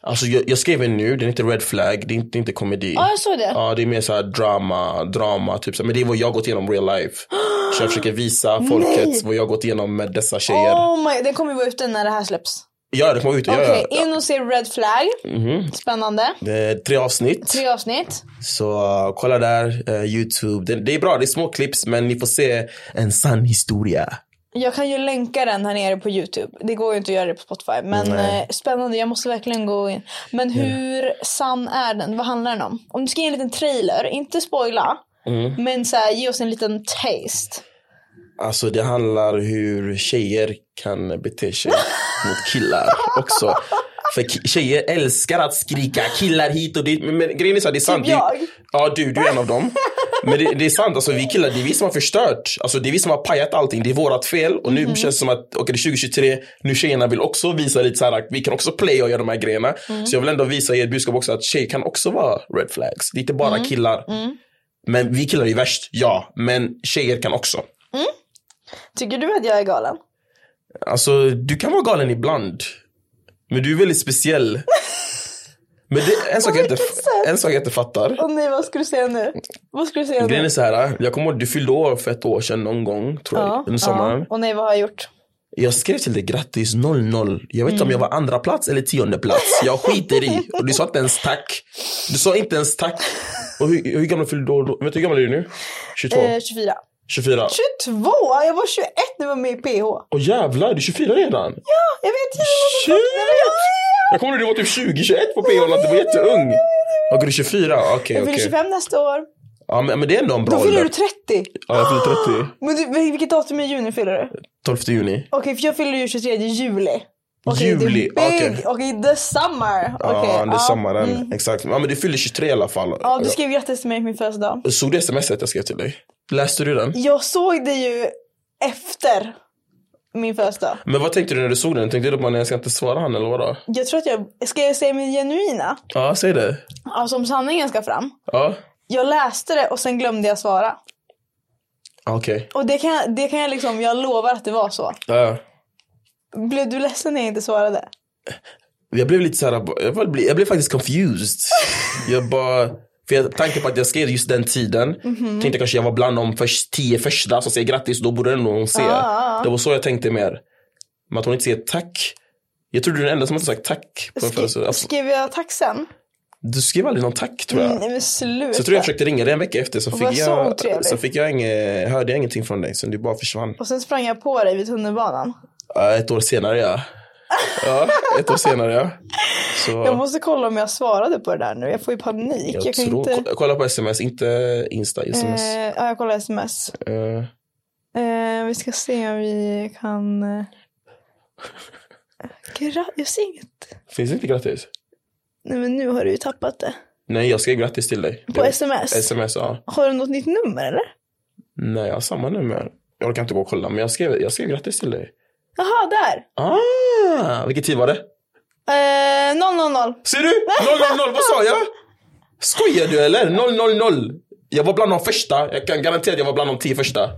Speaker 2: Alltså jag, jag skrev en nu, den är inte red flag, det är inte, det är inte komedi.
Speaker 1: Ja, jag såg det.
Speaker 2: Ja, det är mer så här drama, drama typ. så. Men det är vad jag gått igenom real life. Så jag försöker visa folket vad jag gått igenom med dessa tjejer.
Speaker 1: Oh my, den kommer ju vara ute när det här släpps.
Speaker 2: Ja, det kommer ut. Ja,
Speaker 1: Okej,
Speaker 2: ja. Mhm.
Speaker 1: in och se Red Flag. Spännande.
Speaker 2: Det är tre avsnitt.
Speaker 1: Tre avsnitt.
Speaker 2: Så uh, kolla där, eh, Youtube. Det, det är bra, det är små klipps men ni får se en sann historia.
Speaker 1: Jag kan ju länka den här nere på Youtube. Det går ju inte att göra det på Spotify. Men
Speaker 2: Nej.
Speaker 1: eh, spännande, jag måste verkligen gå in. Men hur sann är den? Vad handlar den om? Om du ska ge en liten trailer, inte spoila.
Speaker 2: Mm.
Speaker 1: Men så här, ge oss en liten taste.
Speaker 2: Alltså det handlar hur tjejer kan bete sig mot killar också. För ki- tjejer älskar att skrika killar hit och dit. Men, men grejen är så här, det är sant. Det-
Speaker 1: jag.
Speaker 2: Ja, du, du är en av dem. Men det, det är sant, alltså vi killar, det är vi som har förstört. Alltså det är vi som har pajat allting. Det är vårat fel. Och nu känns det som att, okej det är 2023, nu tjejerna vill också visa lite så här, att vi kan också play och göra de här grejerna. Så jag vill ändå visa i ert budskap också att tjejer kan också vara red flags. Det är inte bara killar. Men vi killar är ju värst, ja. Men tjejer kan också.
Speaker 1: Tycker du att jag är galen?
Speaker 2: Alltså du kan vara galen ibland. Men du är väldigt speciell. Men det, en, sak jag inte,
Speaker 1: vilket sätt?
Speaker 2: en sak jag inte fattar.
Speaker 1: Åh nej, vad ska du säga nu? Vad ska du säga
Speaker 2: Grejen är
Speaker 1: nu?
Speaker 2: så här, jag kommer ihåg, du fyllde år för ett år sedan någon gång tror jag, under sommaren.
Speaker 1: Och nej, vad har jag gjort?
Speaker 2: Jag skrev till dig grattis 00. Jag vet inte om
Speaker 1: Mm.
Speaker 2: jag var andra plats eller tionde plats. Jag skiter i. Och du sa inte ens tack. Du sa inte ens tack. Och hur, hur gammal fyllde du då? Vet du hur gammal är du nu? 22?
Speaker 1: Eh, 24.
Speaker 2: 24?
Speaker 1: 22? Jag var 21 när jag var med i PH.
Speaker 2: Åh jävlar, du är 24 redan?
Speaker 1: Jag vet inte vad som
Speaker 2: Shit! Jag kommer ihåg när du var typ 20-21 på PH, att du var jätteung. Okej, du är 24? Okej,
Speaker 1: Jag
Speaker 2: okej.
Speaker 1: fyller 25 nästa år.
Speaker 2: Ja, men, men det är ändå en bra
Speaker 1: Då fyller
Speaker 2: ålder.
Speaker 1: du 30.
Speaker 2: Ja, jag fyller 30.
Speaker 1: Men du, vilket datum i juni fyller du? Okej,
Speaker 2: 12 juni.
Speaker 1: för jag fyller ju 23 juli. Okej,
Speaker 2: Juli,
Speaker 1: det är big.
Speaker 2: okej.
Speaker 1: Okej, the summer.
Speaker 2: Ja,
Speaker 1: Okej, Mm.
Speaker 2: det är samma den. Exakt. Ja, men du fyller 23 i alla fall.
Speaker 1: Ja, du skrev grattis till mig på min födelsedag.
Speaker 2: Såg du smset jag skrev till dig? Läste du den?
Speaker 1: Jag såg det ju efter min födelsedag.
Speaker 2: Men vad tänkte du när du såg den? Tänkte du bara nej jag ska inte svara han eller vadå?
Speaker 1: Jag tror att jag, ska jag säga min genuina?
Speaker 2: Ja, säg det.
Speaker 1: Alltså om sanningen ska fram.
Speaker 2: Ja,
Speaker 1: Jag läste det och sen glömde jag svara.
Speaker 2: Ja, okej.
Speaker 1: Och det kan, jag- det kan jag liksom, jag lovar att det var så.
Speaker 2: Ja.
Speaker 1: Blev du ledsen när jag inte svarade?
Speaker 2: Jag blev lite såhär, jag, var- jag blev faktiskt confused. jag bara, för jag, tanken på att jag skrev just den tiden,
Speaker 1: Mhm.
Speaker 2: tänkte kanske jag var bland de först, tio första som säger grattis, då borde ändå hon se.
Speaker 1: Ah.
Speaker 2: Det var så jag tänkte mer. Men att hon inte säger tack. Jag tror du är den enda som har sagt tack på en födelsedag.
Speaker 1: Skri-
Speaker 2: Alltså,
Speaker 1: skrev jag tack sen?
Speaker 2: Du skrev aldrig någon tack tror jag.
Speaker 1: Mm, Nej men sluta.
Speaker 2: Så jag tror jag försökte ringa dig en vecka efter så
Speaker 1: var
Speaker 2: fick
Speaker 1: så
Speaker 2: jag, så
Speaker 1: otrevlig.
Speaker 2: fick jag inget, hörde jag ingenting från dig så du bara försvann.
Speaker 1: Och sen sprang jag på dig vid tunnelbanan.
Speaker 2: Ja, ett år senare ja. Ja, ett år senare ja. Så
Speaker 1: Jag måste kolla om jag svarade på det där nu. Jag får ju panik. Jag,
Speaker 2: jag
Speaker 1: kan
Speaker 2: tror,
Speaker 1: inte...
Speaker 2: ko- kolla på sms, inte insta sms.
Speaker 1: Eh, ja, jag kollar sms.
Speaker 2: Eh,
Speaker 1: Eh, vi ska se om vi kan... eh, Gra- jag ser inget.
Speaker 2: finns det inte grattis?
Speaker 1: Nej men nu har du ju tappat det.
Speaker 2: Nej, jag skrev grattis till dig.
Speaker 1: På
Speaker 2: Det-
Speaker 1: sms?
Speaker 2: Sms, ja.
Speaker 1: Har du något nytt nummer eller?
Speaker 2: Nej, jag har samma nummer. Jag orkar inte gå och kolla, men jag skrev, jag skrev grattis till dig.
Speaker 1: Jaha, där!
Speaker 2: Ah, vilken tid var det?
Speaker 1: Eh, 000.
Speaker 2: Ser du? 000, vad sa jag? Skojar du eller? 000. Jag var bland de första. Jag kan garantera att jag var bland de tio första.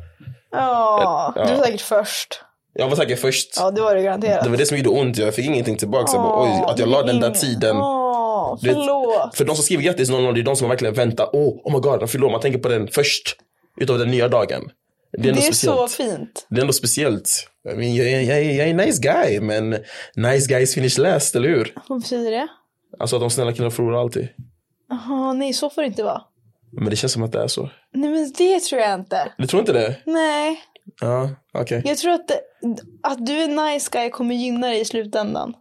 Speaker 1: Ja,
Speaker 2: Ja.
Speaker 1: du var säkert först.
Speaker 2: Jag var säkert först.
Speaker 1: Ja, det var du garanterat.
Speaker 2: Det var det som gjorde ont. Jag fick ingenting tillbaka. Jag bara, oj, att jag la den där tiden.
Speaker 1: Åh,
Speaker 2: Du vet,
Speaker 1: förlåt.
Speaker 2: För de som skriver grattis 00, det är de som verkligen väntar. Oh, oh my god, de fyller år. Man tänker på den först. Utav den nya dagen.
Speaker 1: Det är,
Speaker 2: ändå
Speaker 1: så fint.
Speaker 2: Det är ändå speciellt. I mean, jag, jag, jag, jag är en nice guy, men nice guys finish last, eller hur?
Speaker 1: Vad betyder det?
Speaker 2: Alltså att de snälla killarna förlorar alltid.
Speaker 1: Jaha, nej så får det inte vara.
Speaker 2: Men det känns som att det är så.
Speaker 1: Nej men det tror jag inte.
Speaker 2: Du tror inte det?
Speaker 1: Nej,
Speaker 2: Ja, okej.
Speaker 1: jag tror att, det, att du är nice guy kommer gynna dig i slutändan.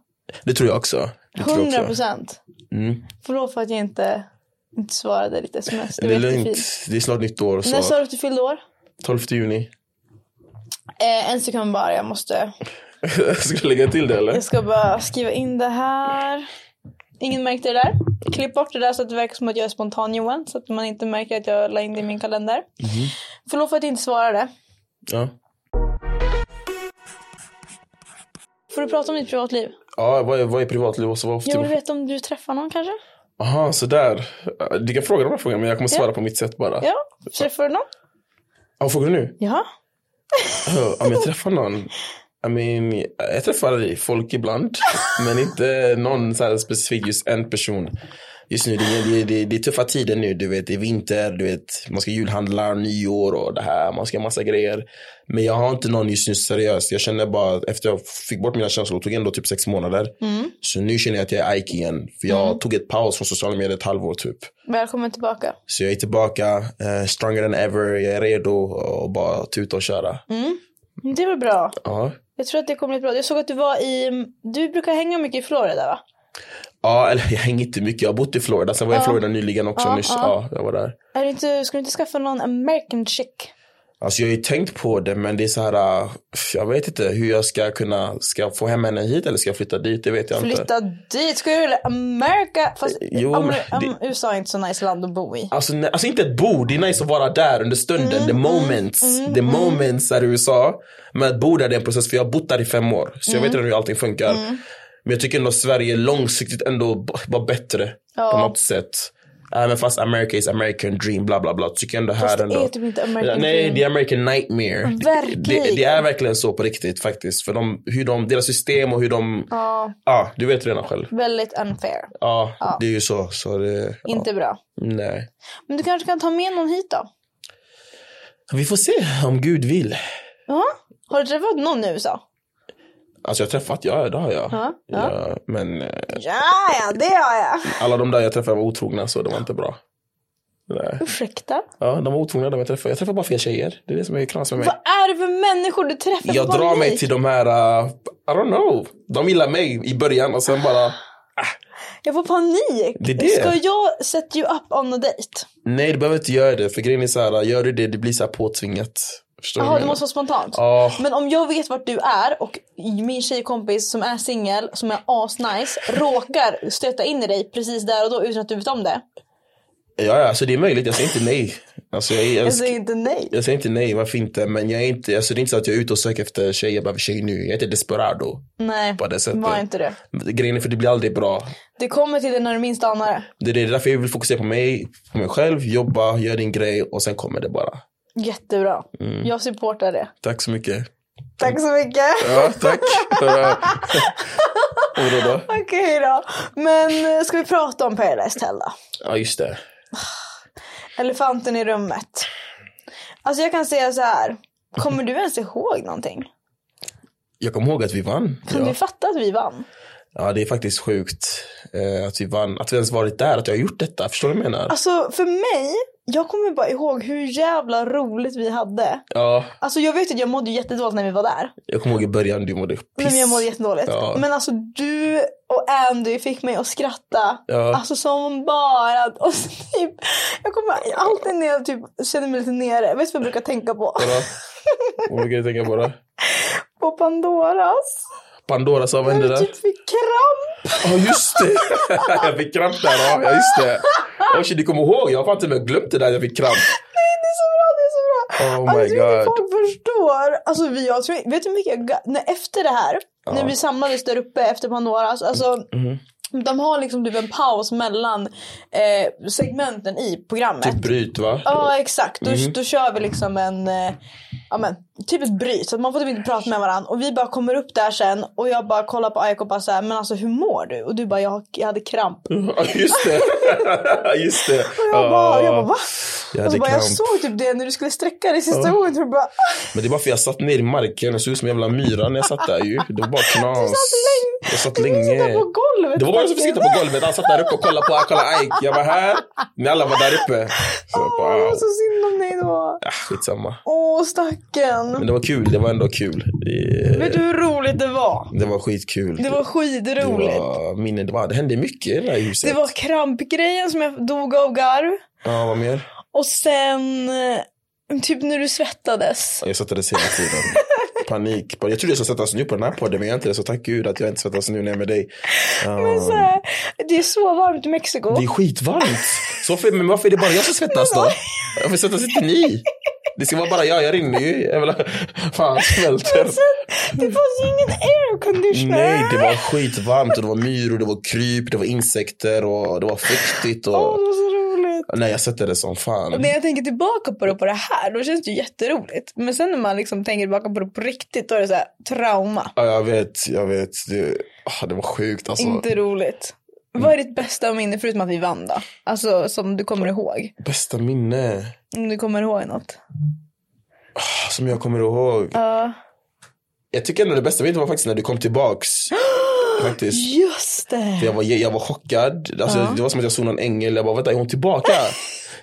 Speaker 2: Det tror jag också. Det tror jag
Speaker 1: 100
Speaker 2: också.
Speaker 1: procent.
Speaker 2: Mm.
Speaker 1: Förlåt för att jag inte, inte svarade ditt sms. Det
Speaker 2: Det är
Speaker 1: var jättefint.
Speaker 2: lugnt. Det är snart nytt år,
Speaker 1: När sa du
Speaker 2: så
Speaker 1: att du fyllde år?
Speaker 2: 12 juni.
Speaker 1: Eh, en sekund bara, jag måste.
Speaker 2: Ska du lägga till det, eller?
Speaker 1: Jag ska bara skriva in det här. Ingen märkte det där. Klipp bort det där så att det verkar som att jag är spontan Johan. Så att man inte märker att jag la in det i min kalender.
Speaker 2: Mhm.
Speaker 1: Förlåt för att jag inte svarade.
Speaker 2: Ja.
Speaker 1: Får du prata om ditt privatliv?
Speaker 2: Ja, vad är, vad är typ privatliv och så vad ofta...
Speaker 1: Jag vill veta om du träffar någon kanske?
Speaker 2: Aha, sådär. Du kan fråga de här frågorna men jag kommer svara
Speaker 1: Ja.
Speaker 2: på mitt sätt bara.
Speaker 1: Ja, träffar du någon?
Speaker 2: Ja, frågar du nu?
Speaker 1: Ja.
Speaker 2: Ja, Om jag träffar någon? I mean, jag träffar folk ibland, men inte någon så här specifik, just en person. Just nu, det är, det, är- det, är- det är tuffa tider nu, du vet, det är vinter, du vet, man ska julhandla, nyår och det här, man ska ha massa grejer. Men jag har inte någon just nu seriöst, jag känner bara, att efter jag fick bort mina känslor, det tog ändå typ sex månader.
Speaker 1: Mm.
Speaker 2: Så nu känner jag att jag är Ike igen, för jag tog ett paus från sociala medier ett halvår typ.
Speaker 1: Välkommen tillbaka.
Speaker 2: Så jag är tillbaka, eh, stronger than ever, jag är redo och bara tuta och köra.
Speaker 1: Mm. Det var bra.
Speaker 2: Ja.
Speaker 1: Jag tror att det kommer bli bra. Jag såg att du var i... Du brukar hänga mycket i Florida va?
Speaker 2: Ja, eller jag hänger inte mycket. Jag har bott i Florida. Sen var jag i Florida nyligen också.
Speaker 1: Ja,
Speaker 2: nyss.
Speaker 1: ja.
Speaker 2: Ja, jag var där.
Speaker 1: Är du inte, ska du inte skaffa någon American chick?
Speaker 2: Alltså jag har ju tänkt på det, men det är så här, äh, jag vet inte hur jag ska kunna, ska jag få hem henne hit eller ska jag flytta dit? Det vet jag inte.
Speaker 1: Flytta dit, ska du till Amerika? Fast
Speaker 2: Jo,
Speaker 1: Amer-
Speaker 2: men
Speaker 1: Am- USA är inte så nice land att bo i.
Speaker 2: Alltså, nej, alltså inte ett bo, det är nice att vara där under stunden,
Speaker 1: Mm,
Speaker 2: the moments. the moments är i USA. Men att bo där det är en process, för jag har bott där i fem år. Så jag vet
Speaker 1: Mm.
Speaker 2: redan hur allting funkar. Men jag tycker ändå Sverige långsiktigt ändå b- var bättre
Speaker 1: Ja.
Speaker 2: på något sätt. Även fast America is American dream, bla bla bla. Tycker jag ändå här
Speaker 1: Fast det
Speaker 2: ändå.
Speaker 1: är typ inte American
Speaker 2: Nej,
Speaker 1: dream.
Speaker 2: det är American nightmare.
Speaker 1: Verkligen.
Speaker 2: Det, det är verkligen så på riktigt faktiskt. För de, hur de, deras system och hur de... Ja. Ah, du vet redan själv.
Speaker 1: Väldigt unfair.
Speaker 2: Ja, det är ju så. så det, ja.
Speaker 1: Inte bra.
Speaker 2: Nej.
Speaker 1: Men du kanske kan ta med någon hit då?
Speaker 2: Vi får se om Gud vill.
Speaker 1: Ja. Har du träffat någon i USA?
Speaker 2: Alltså jag har träffat, ja det har jag.
Speaker 1: Ja,
Speaker 2: Ja, men eh,
Speaker 1: Ja, ja, det har jag.
Speaker 2: alla de där jag träffade var otrogna så det var inte bra. Nej.
Speaker 1: Ursäkta?
Speaker 2: Ja, de var otrogna de jag träffade. Jag träffade bara fel tjejer. Det är det som är knas med mig.
Speaker 1: Vad är det för människor du träffar?
Speaker 2: Jag
Speaker 1: på
Speaker 2: drar mig
Speaker 1: publik?
Speaker 2: till de här, uh, I don't know. De gillar mig i början och sen bara,
Speaker 1: Jag får panik.
Speaker 2: Det är det.
Speaker 1: Ska jag set you up on a date?
Speaker 2: nej du behöver inte göra det. För grejen är så här, eh, gör du det, det blir så här påtvingat. Förstår
Speaker 1: Jaha,
Speaker 2: vad
Speaker 1: det
Speaker 2: jag
Speaker 1: måste vara spontant.
Speaker 2: Mm. Ja.
Speaker 1: Men om jag vet vart du är och min tjejkompis som är singel, som är asnice, råkar stöta in i dig precis där och då utan att du vet om det.
Speaker 2: menar? Ja, ja, alltså det är möjligt. Jag säger inte nej. Alltså jag, jag,
Speaker 1: Jag säger inte nej.
Speaker 2: jag säger inte nej, varför inte? Men jag är inte, alltså det är inte så att jag är ute och söker efter tjejer, jag behöver tjej nu. Jag är inte desperado.
Speaker 1: Nej,
Speaker 2: På det sättet.
Speaker 1: var inte det.
Speaker 2: Grejen är för det blir aldrig bra.
Speaker 1: Det kommer till det när du minst anar det.
Speaker 2: Det är det- det är därför jag vill fokusera på mig, på mig själv, jobba, göra din grej och sen kommer det bara.
Speaker 1: Jättebra. Jag supportar det.
Speaker 2: Tack så mycket.
Speaker 1: Tack så mycket.
Speaker 2: Ja, tack. och då då?
Speaker 1: Okej då. Men eh, ska vi prata om Paradise Hotel då?
Speaker 2: Ja, just det.
Speaker 1: Elefanten i rummet. Alltså jag kan säga så här. Kommer du ens ihåg någonting?
Speaker 2: Jag kommer ihåg att vi vann.
Speaker 1: Kan
Speaker 2: Ja,
Speaker 1: du fatta att vi vann?
Speaker 2: ja det är faktiskt sjukt eh, att vi vann. Att vi ens varit där, att jag har gjort detta. Förstår du vad jag menar?
Speaker 1: Alltså för mig, jag kommer bara ihåg hur jävla roligt vi hade.
Speaker 2: Ja,
Speaker 1: Alltså jag vet att jag mådde jättedåligt när vi var där.
Speaker 2: jag kommer ihåg i början du mådde piss.
Speaker 1: Nej, men jag mådde jättedåligt.
Speaker 2: Ja.
Speaker 1: Men alltså du och Andy fick mig att skratta.
Speaker 2: Ja.
Speaker 1: Alltså som bara... Och så typ, jag kommer alltid när jag typ känner mig lite nere. Vet du vad jag brukar tänka på?
Speaker 2: Ja. Vad brukar du tänka på då?
Speaker 1: På Pandoras.
Speaker 2: Pandora sa, vad hände
Speaker 1: Du
Speaker 2: där?
Speaker 1: typ fick kramp.
Speaker 2: Ja just det! jag fick kramp där, ja Ja, just det. Oj shit, du kommer ihåg? Jag har fan till och med glömt det där jag fick kramp.
Speaker 1: Det är så bra, det är så bra.
Speaker 2: Oh my
Speaker 1: alltså, jag tror inte
Speaker 2: god.
Speaker 1: folk förstår. Alltså, vi, jag tror, vet du hur mycket jag... ga- När, efter det här, när vi samlades där uppe efter Pandoras. Alltså,
Speaker 2: Mm-hmm.
Speaker 1: De har liksom typ en paus mellan eh, segmenten i programmet.
Speaker 2: Typ bryt va?
Speaker 1: Ja exakt, då,
Speaker 2: Mm.
Speaker 1: då kör vi liksom en, eh, ja men typ ett bryt. Så att man får typ inte prata med varandra. Och vi bara kommer upp där sen och jag bara kollar på Aiko och bara såhär, men alltså hur mår du? Och du bara, jag, har- jag hade kramp. Och
Speaker 2: Ja just det. just det.
Speaker 1: jag bara, jag bara va? och
Speaker 2: Mm. Jag hade
Speaker 1: så bara, jag
Speaker 2: kramp.
Speaker 1: såg typ det när du skulle sträcka dig sista gången. Och du bara, "Ah,
Speaker 2: Men det är bara för jag satt ner i marken och såg ut som en jävla myra när jag satt där ju. Det var bara knas. Jag satt
Speaker 1: du
Speaker 2: länge.
Speaker 1: sitta på golvet.
Speaker 2: Det var bara jag som fick sitta på golvet. Han satt där uppe och kollade på kolla Ike. Jag var här. Ni alla var där uppe. Så jag
Speaker 1: Åh,
Speaker 2: bara,
Speaker 1: det
Speaker 2: ah,
Speaker 1: var så synd om dig då.
Speaker 2: ah, skitsamma.
Speaker 1: Åh stackarn.
Speaker 2: Men det var kul. Det var ändå kul. Det,
Speaker 1: Vet du hur roligt det var?
Speaker 2: det var skitkul.
Speaker 1: Det var
Speaker 2: Det var
Speaker 1: skitroligt.
Speaker 2: minnen. Det, var, det hände mycket i det här huset.
Speaker 1: Det var krampgrejen som jag dog av garv.
Speaker 2: Ja, vad mer?
Speaker 1: Och sen, eh, typ när du svettades.
Speaker 2: Jag svettades hela tiden. Panik. Jag trodde jag skulle svettas nu på den här podden, men jag är inte det. Så tack gud att jag inte svettas nu när jag är med dig. Ja.
Speaker 1: Men så här, det är så varmt i Mexiko.
Speaker 2: Det är skitvarmt. Så för, men varför är det bara jag som svettas då? Varför svettas inte ni? Det ska vara bara jag, jag rinner ju. Jag vill, fan, smälter.
Speaker 1: Det fanns ju ingen air conditioner.
Speaker 2: Nej, det var skitvarmt och det var myror, det var kryp, det var insekter och det var fuktigt.
Speaker 1: Åh, det
Speaker 2: Och...
Speaker 1: var så roligt.
Speaker 2: Nej, jag svettades som fan.
Speaker 1: När jag tänker tillbaka på det på det här, då känns det ju jätteroligt. Men sen när man liksom tänker tillbaka på det på riktigt, då är det så här trauma.
Speaker 2: Ja, jag vet, jag vet. Det, ah, det var sjukt alltså.
Speaker 1: Inte roligt.
Speaker 2: Mm.
Speaker 1: Vad är ditt bästa minne förutom att vi vann då? Alltså som du kommer ihåg.
Speaker 2: Bästa minne
Speaker 1: Om du kommer ihåg något.
Speaker 2: som jag kommer ihåg.
Speaker 1: Ja.
Speaker 2: Jag tycker ändå det bästa minnet var faktiskt när du kom tillbaks. Faktiskt.
Speaker 1: Just det!
Speaker 2: För jag var, jag var chockad. Alltså, Det var som att jag såg någon ängel. Jag bara, vänta, är hon tillbaka?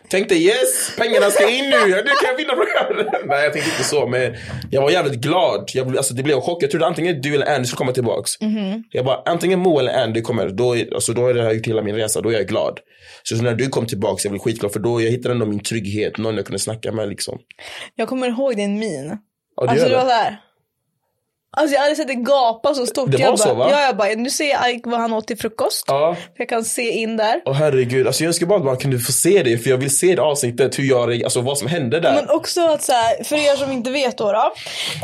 Speaker 2: tänkte yes, pengarna ska in nu. Nu kan jag vinna programmet. Nej, jag tänkte inte så. Men jag var jävligt glad. Jag, blev- alltså, det blev en chock. Jag trodde antingen du eller Andy skulle komma tillbaks.
Speaker 1: Mhm.
Speaker 2: Jag bara, antingen Mo eller Andy kommer. Då, är- alltså, då har jag gjort hela min resa. Då är jag glad. Så, så när du kom tillbaks, jag blev skitglad. För då jag hittade ändå min trygghet. Någon jag kunde snacka med liksom.
Speaker 1: Jag kommer ihåg din min.
Speaker 2: Ja, det
Speaker 1: Alltså
Speaker 2: gör
Speaker 1: det var
Speaker 2: det.
Speaker 1: såhär. Alltså jag hade sett det gapa så stort.
Speaker 2: Det var
Speaker 1: jag bara,
Speaker 2: så, va?
Speaker 1: Ja, jag bara, nu ser jag Ike vad han åt till frukost.
Speaker 2: Ja.
Speaker 1: För jag kan se in där.
Speaker 2: Åh herregud, alltså jag önskar bara att man kunde få se det för jag vill se det avsnittet, hur jag, reagerar, alltså vad som hände där.
Speaker 1: Men också att så här, för er som inte vet då. då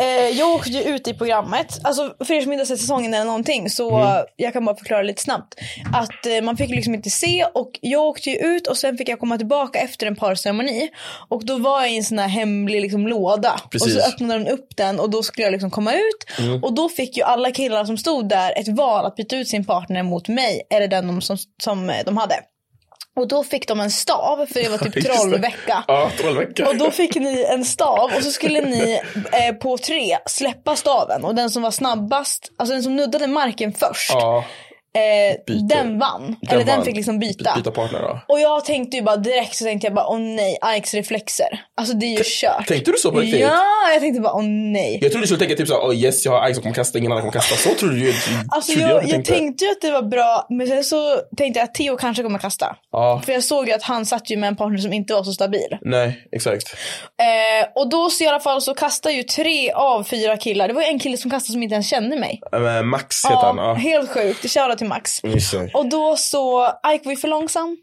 Speaker 1: eh, jag åkte ju ut i programmet. Alltså för er som inte har sett säsongen eller någonting så
Speaker 2: Mm.
Speaker 1: eh, jag kan bara förklara lite snabbt. Att eh, man fick liksom inte se och jag åkte ju ut och sen fick jag komma tillbaka efter en parceremoni. Och då var jag i en sån här hemlig liksom låda.
Speaker 2: Precis. Mm.
Speaker 1: Och så öppnade de upp den och då skulle jag liksom komma ut. Och då fick ju alla killar som stod där ett val att byta ut sin partner mot mig eller den de som, som eh, de hade. Och då fick de en stav för det var typ
Speaker 2: Just det.
Speaker 1: trollvecka.
Speaker 2: Ja, trollvecka.
Speaker 1: Och då fick ni en stav och så skulle ni eh, på tre släppa staven och den som var snabbast, alltså den som nuddade marken först,
Speaker 2: Ja,
Speaker 1: eh,
Speaker 2: byter.
Speaker 1: den vann. Eller den
Speaker 2: vann.
Speaker 1: fick liksom byta.
Speaker 2: Byta partner då.
Speaker 1: Och jag tänkte ju bara direkt så tänkte jag bara åh nej, Ikes reflexer. Alltså det är ju kört.
Speaker 2: Tänkte du så på riktigt?
Speaker 1: Ja, jag tänkte bara åh nej.
Speaker 2: Jag trodde du skulle tänka typ såhär, oh yes jag har Ike som kommer kasta, ingen annan kommer kasta. Så trodde du ju.
Speaker 1: Alltså
Speaker 2: trodde
Speaker 1: jag, jag,
Speaker 2: tänkte.
Speaker 1: tänkte ju att det var bra men sen så tänkte jag att Theo kanske kommer kasta.
Speaker 2: Ja,
Speaker 1: För jag såg ju att han satt ju med en partner som inte var så stabil.
Speaker 2: nej exakt.
Speaker 1: Eh, och då så i alla fall så kastar ju tre av fyra killar. Det var ju en kille som kastade som inte ens kände mig.
Speaker 2: Eh, Max heter han. Ja.
Speaker 1: helt sjukt. Shoutout till Max.
Speaker 2: Just det.
Speaker 1: Och då så, Ike var ju för långsam.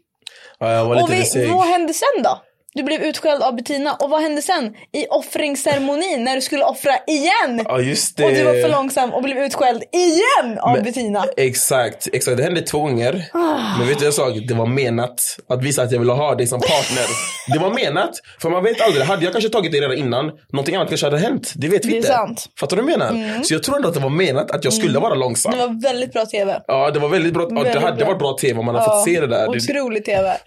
Speaker 2: Ja, jag var lite
Speaker 1: och vi,
Speaker 2: seg.
Speaker 1: vad hände sen då? Du blev utskälld av Bettina. Och vad hände sen? I offringsceremonin när du skulle offra igen.
Speaker 2: Ja just det.
Speaker 1: Och du var för långsam och blev utskälld igen av
Speaker 2: Men-
Speaker 1: Bettina.
Speaker 2: Exakt, exakt. Det hände två gånger.
Speaker 1: Ah.
Speaker 2: Men vet du en sak? Det var menat att visa att jag ville ha dig som partner. Det var menat. För man vet aldrig. Hade jag kanske tagit dig redan innan, någonting annat kanske hade hänt. Det vet vi
Speaker 1: Det är
Speaker 2: inte.
Speaker 1: sant. Mm.
Speaker 2: Fattar du vad jag menar? Så jag tror ändå att det var menat att jag skulle vara långsam.
Speaker 1: Det var väldigt bra TV.
Speaker 2: Ja, det var väldigt bra. ja, det
Speaker 1: Väldigt
Speaker 2: hade
Speaker 1: bra.
Speaker 2: varit bra tv om man hade fått se det där. Det,
Speaker 1: Otrolig TV.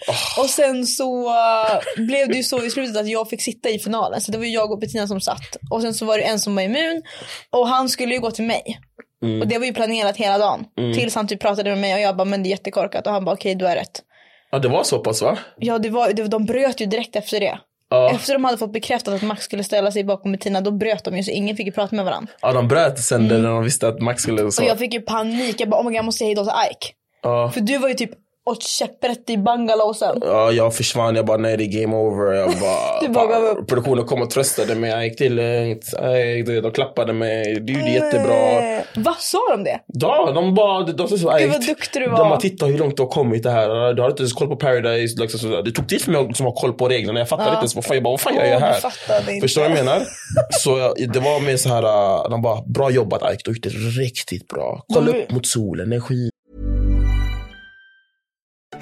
Speaker 1: Och sen så eh, blev det ju så i slutet att jag fick sitta i finalen. Så det var ju jag och Bettina som satt. Och sen så var det en som var immun. Och han skulle ju gå till mig.
Speaker 2: Mm.
Speaker 1: Och det var ju planerat hela dagen. Tills han typ pratade med mig och jag bara men det är jättekorkat. Och han bara okej du har rätt.
Speaker 2: ja, det var så pass va?
Speaker 1: Ja det var, det, de bröt ju direkt efter det.
Speaker 2: Ja.
Speaker 1: Efter de hade fått bekräftat att Max skulle ställa sig bakom Bettina då bröt de ju så ingen fick ju prata med varandra.
Speaker 2: Ja, de bröt sen när de visste att Max skulle så.
Speaker 1: Mm. Och jag fick ju panik. Jag bara oh my god jag måste säga hejdå till Ike.
Speaker 2: Ja.
Speaker 1: För du var ju typ åt käpprätt i bangalåsen.
Speaker 2: Ja, jag försvann. Jag bara, nej det är game over. Jag bara,
Speaker 1: Du bara gav
Speaker 2: fan,
Speaker 1: upp.
Speaker 2: Produktionen kom och tröstade mig. Jag gick till, jag, de klappade mig. Du gjorde
Speaker 1: Eh,
Speaker 2: jättebra.
Speaker 1: Vad sa de det?
Speaker 2: Ja, de bara... De, de, de,
Speaker 1: Gud, vad duktig du var.
Speaker 2: De bara, titta hur långt du har kommit det här. Du har inte ens koll på Paradise. Liksom, så, det tog tid för mig som har koll på reglerna. Jag fattade inte ens vad fan jag, bara, vad fan jag
Speaker 1: Åh,
Speaker 2: gör
Speaker 1: du
Speaker 2: här.
Speaker 1: fattade inte.
Speaker 2: Förstår du vad jag menar? Så jag- det var mer så här, äh, de bara, bra jobbat Ike, du har gjort det riktigt bra. Kolla
Speaker 1: De-
Speaker 2: upp mot solen, energi.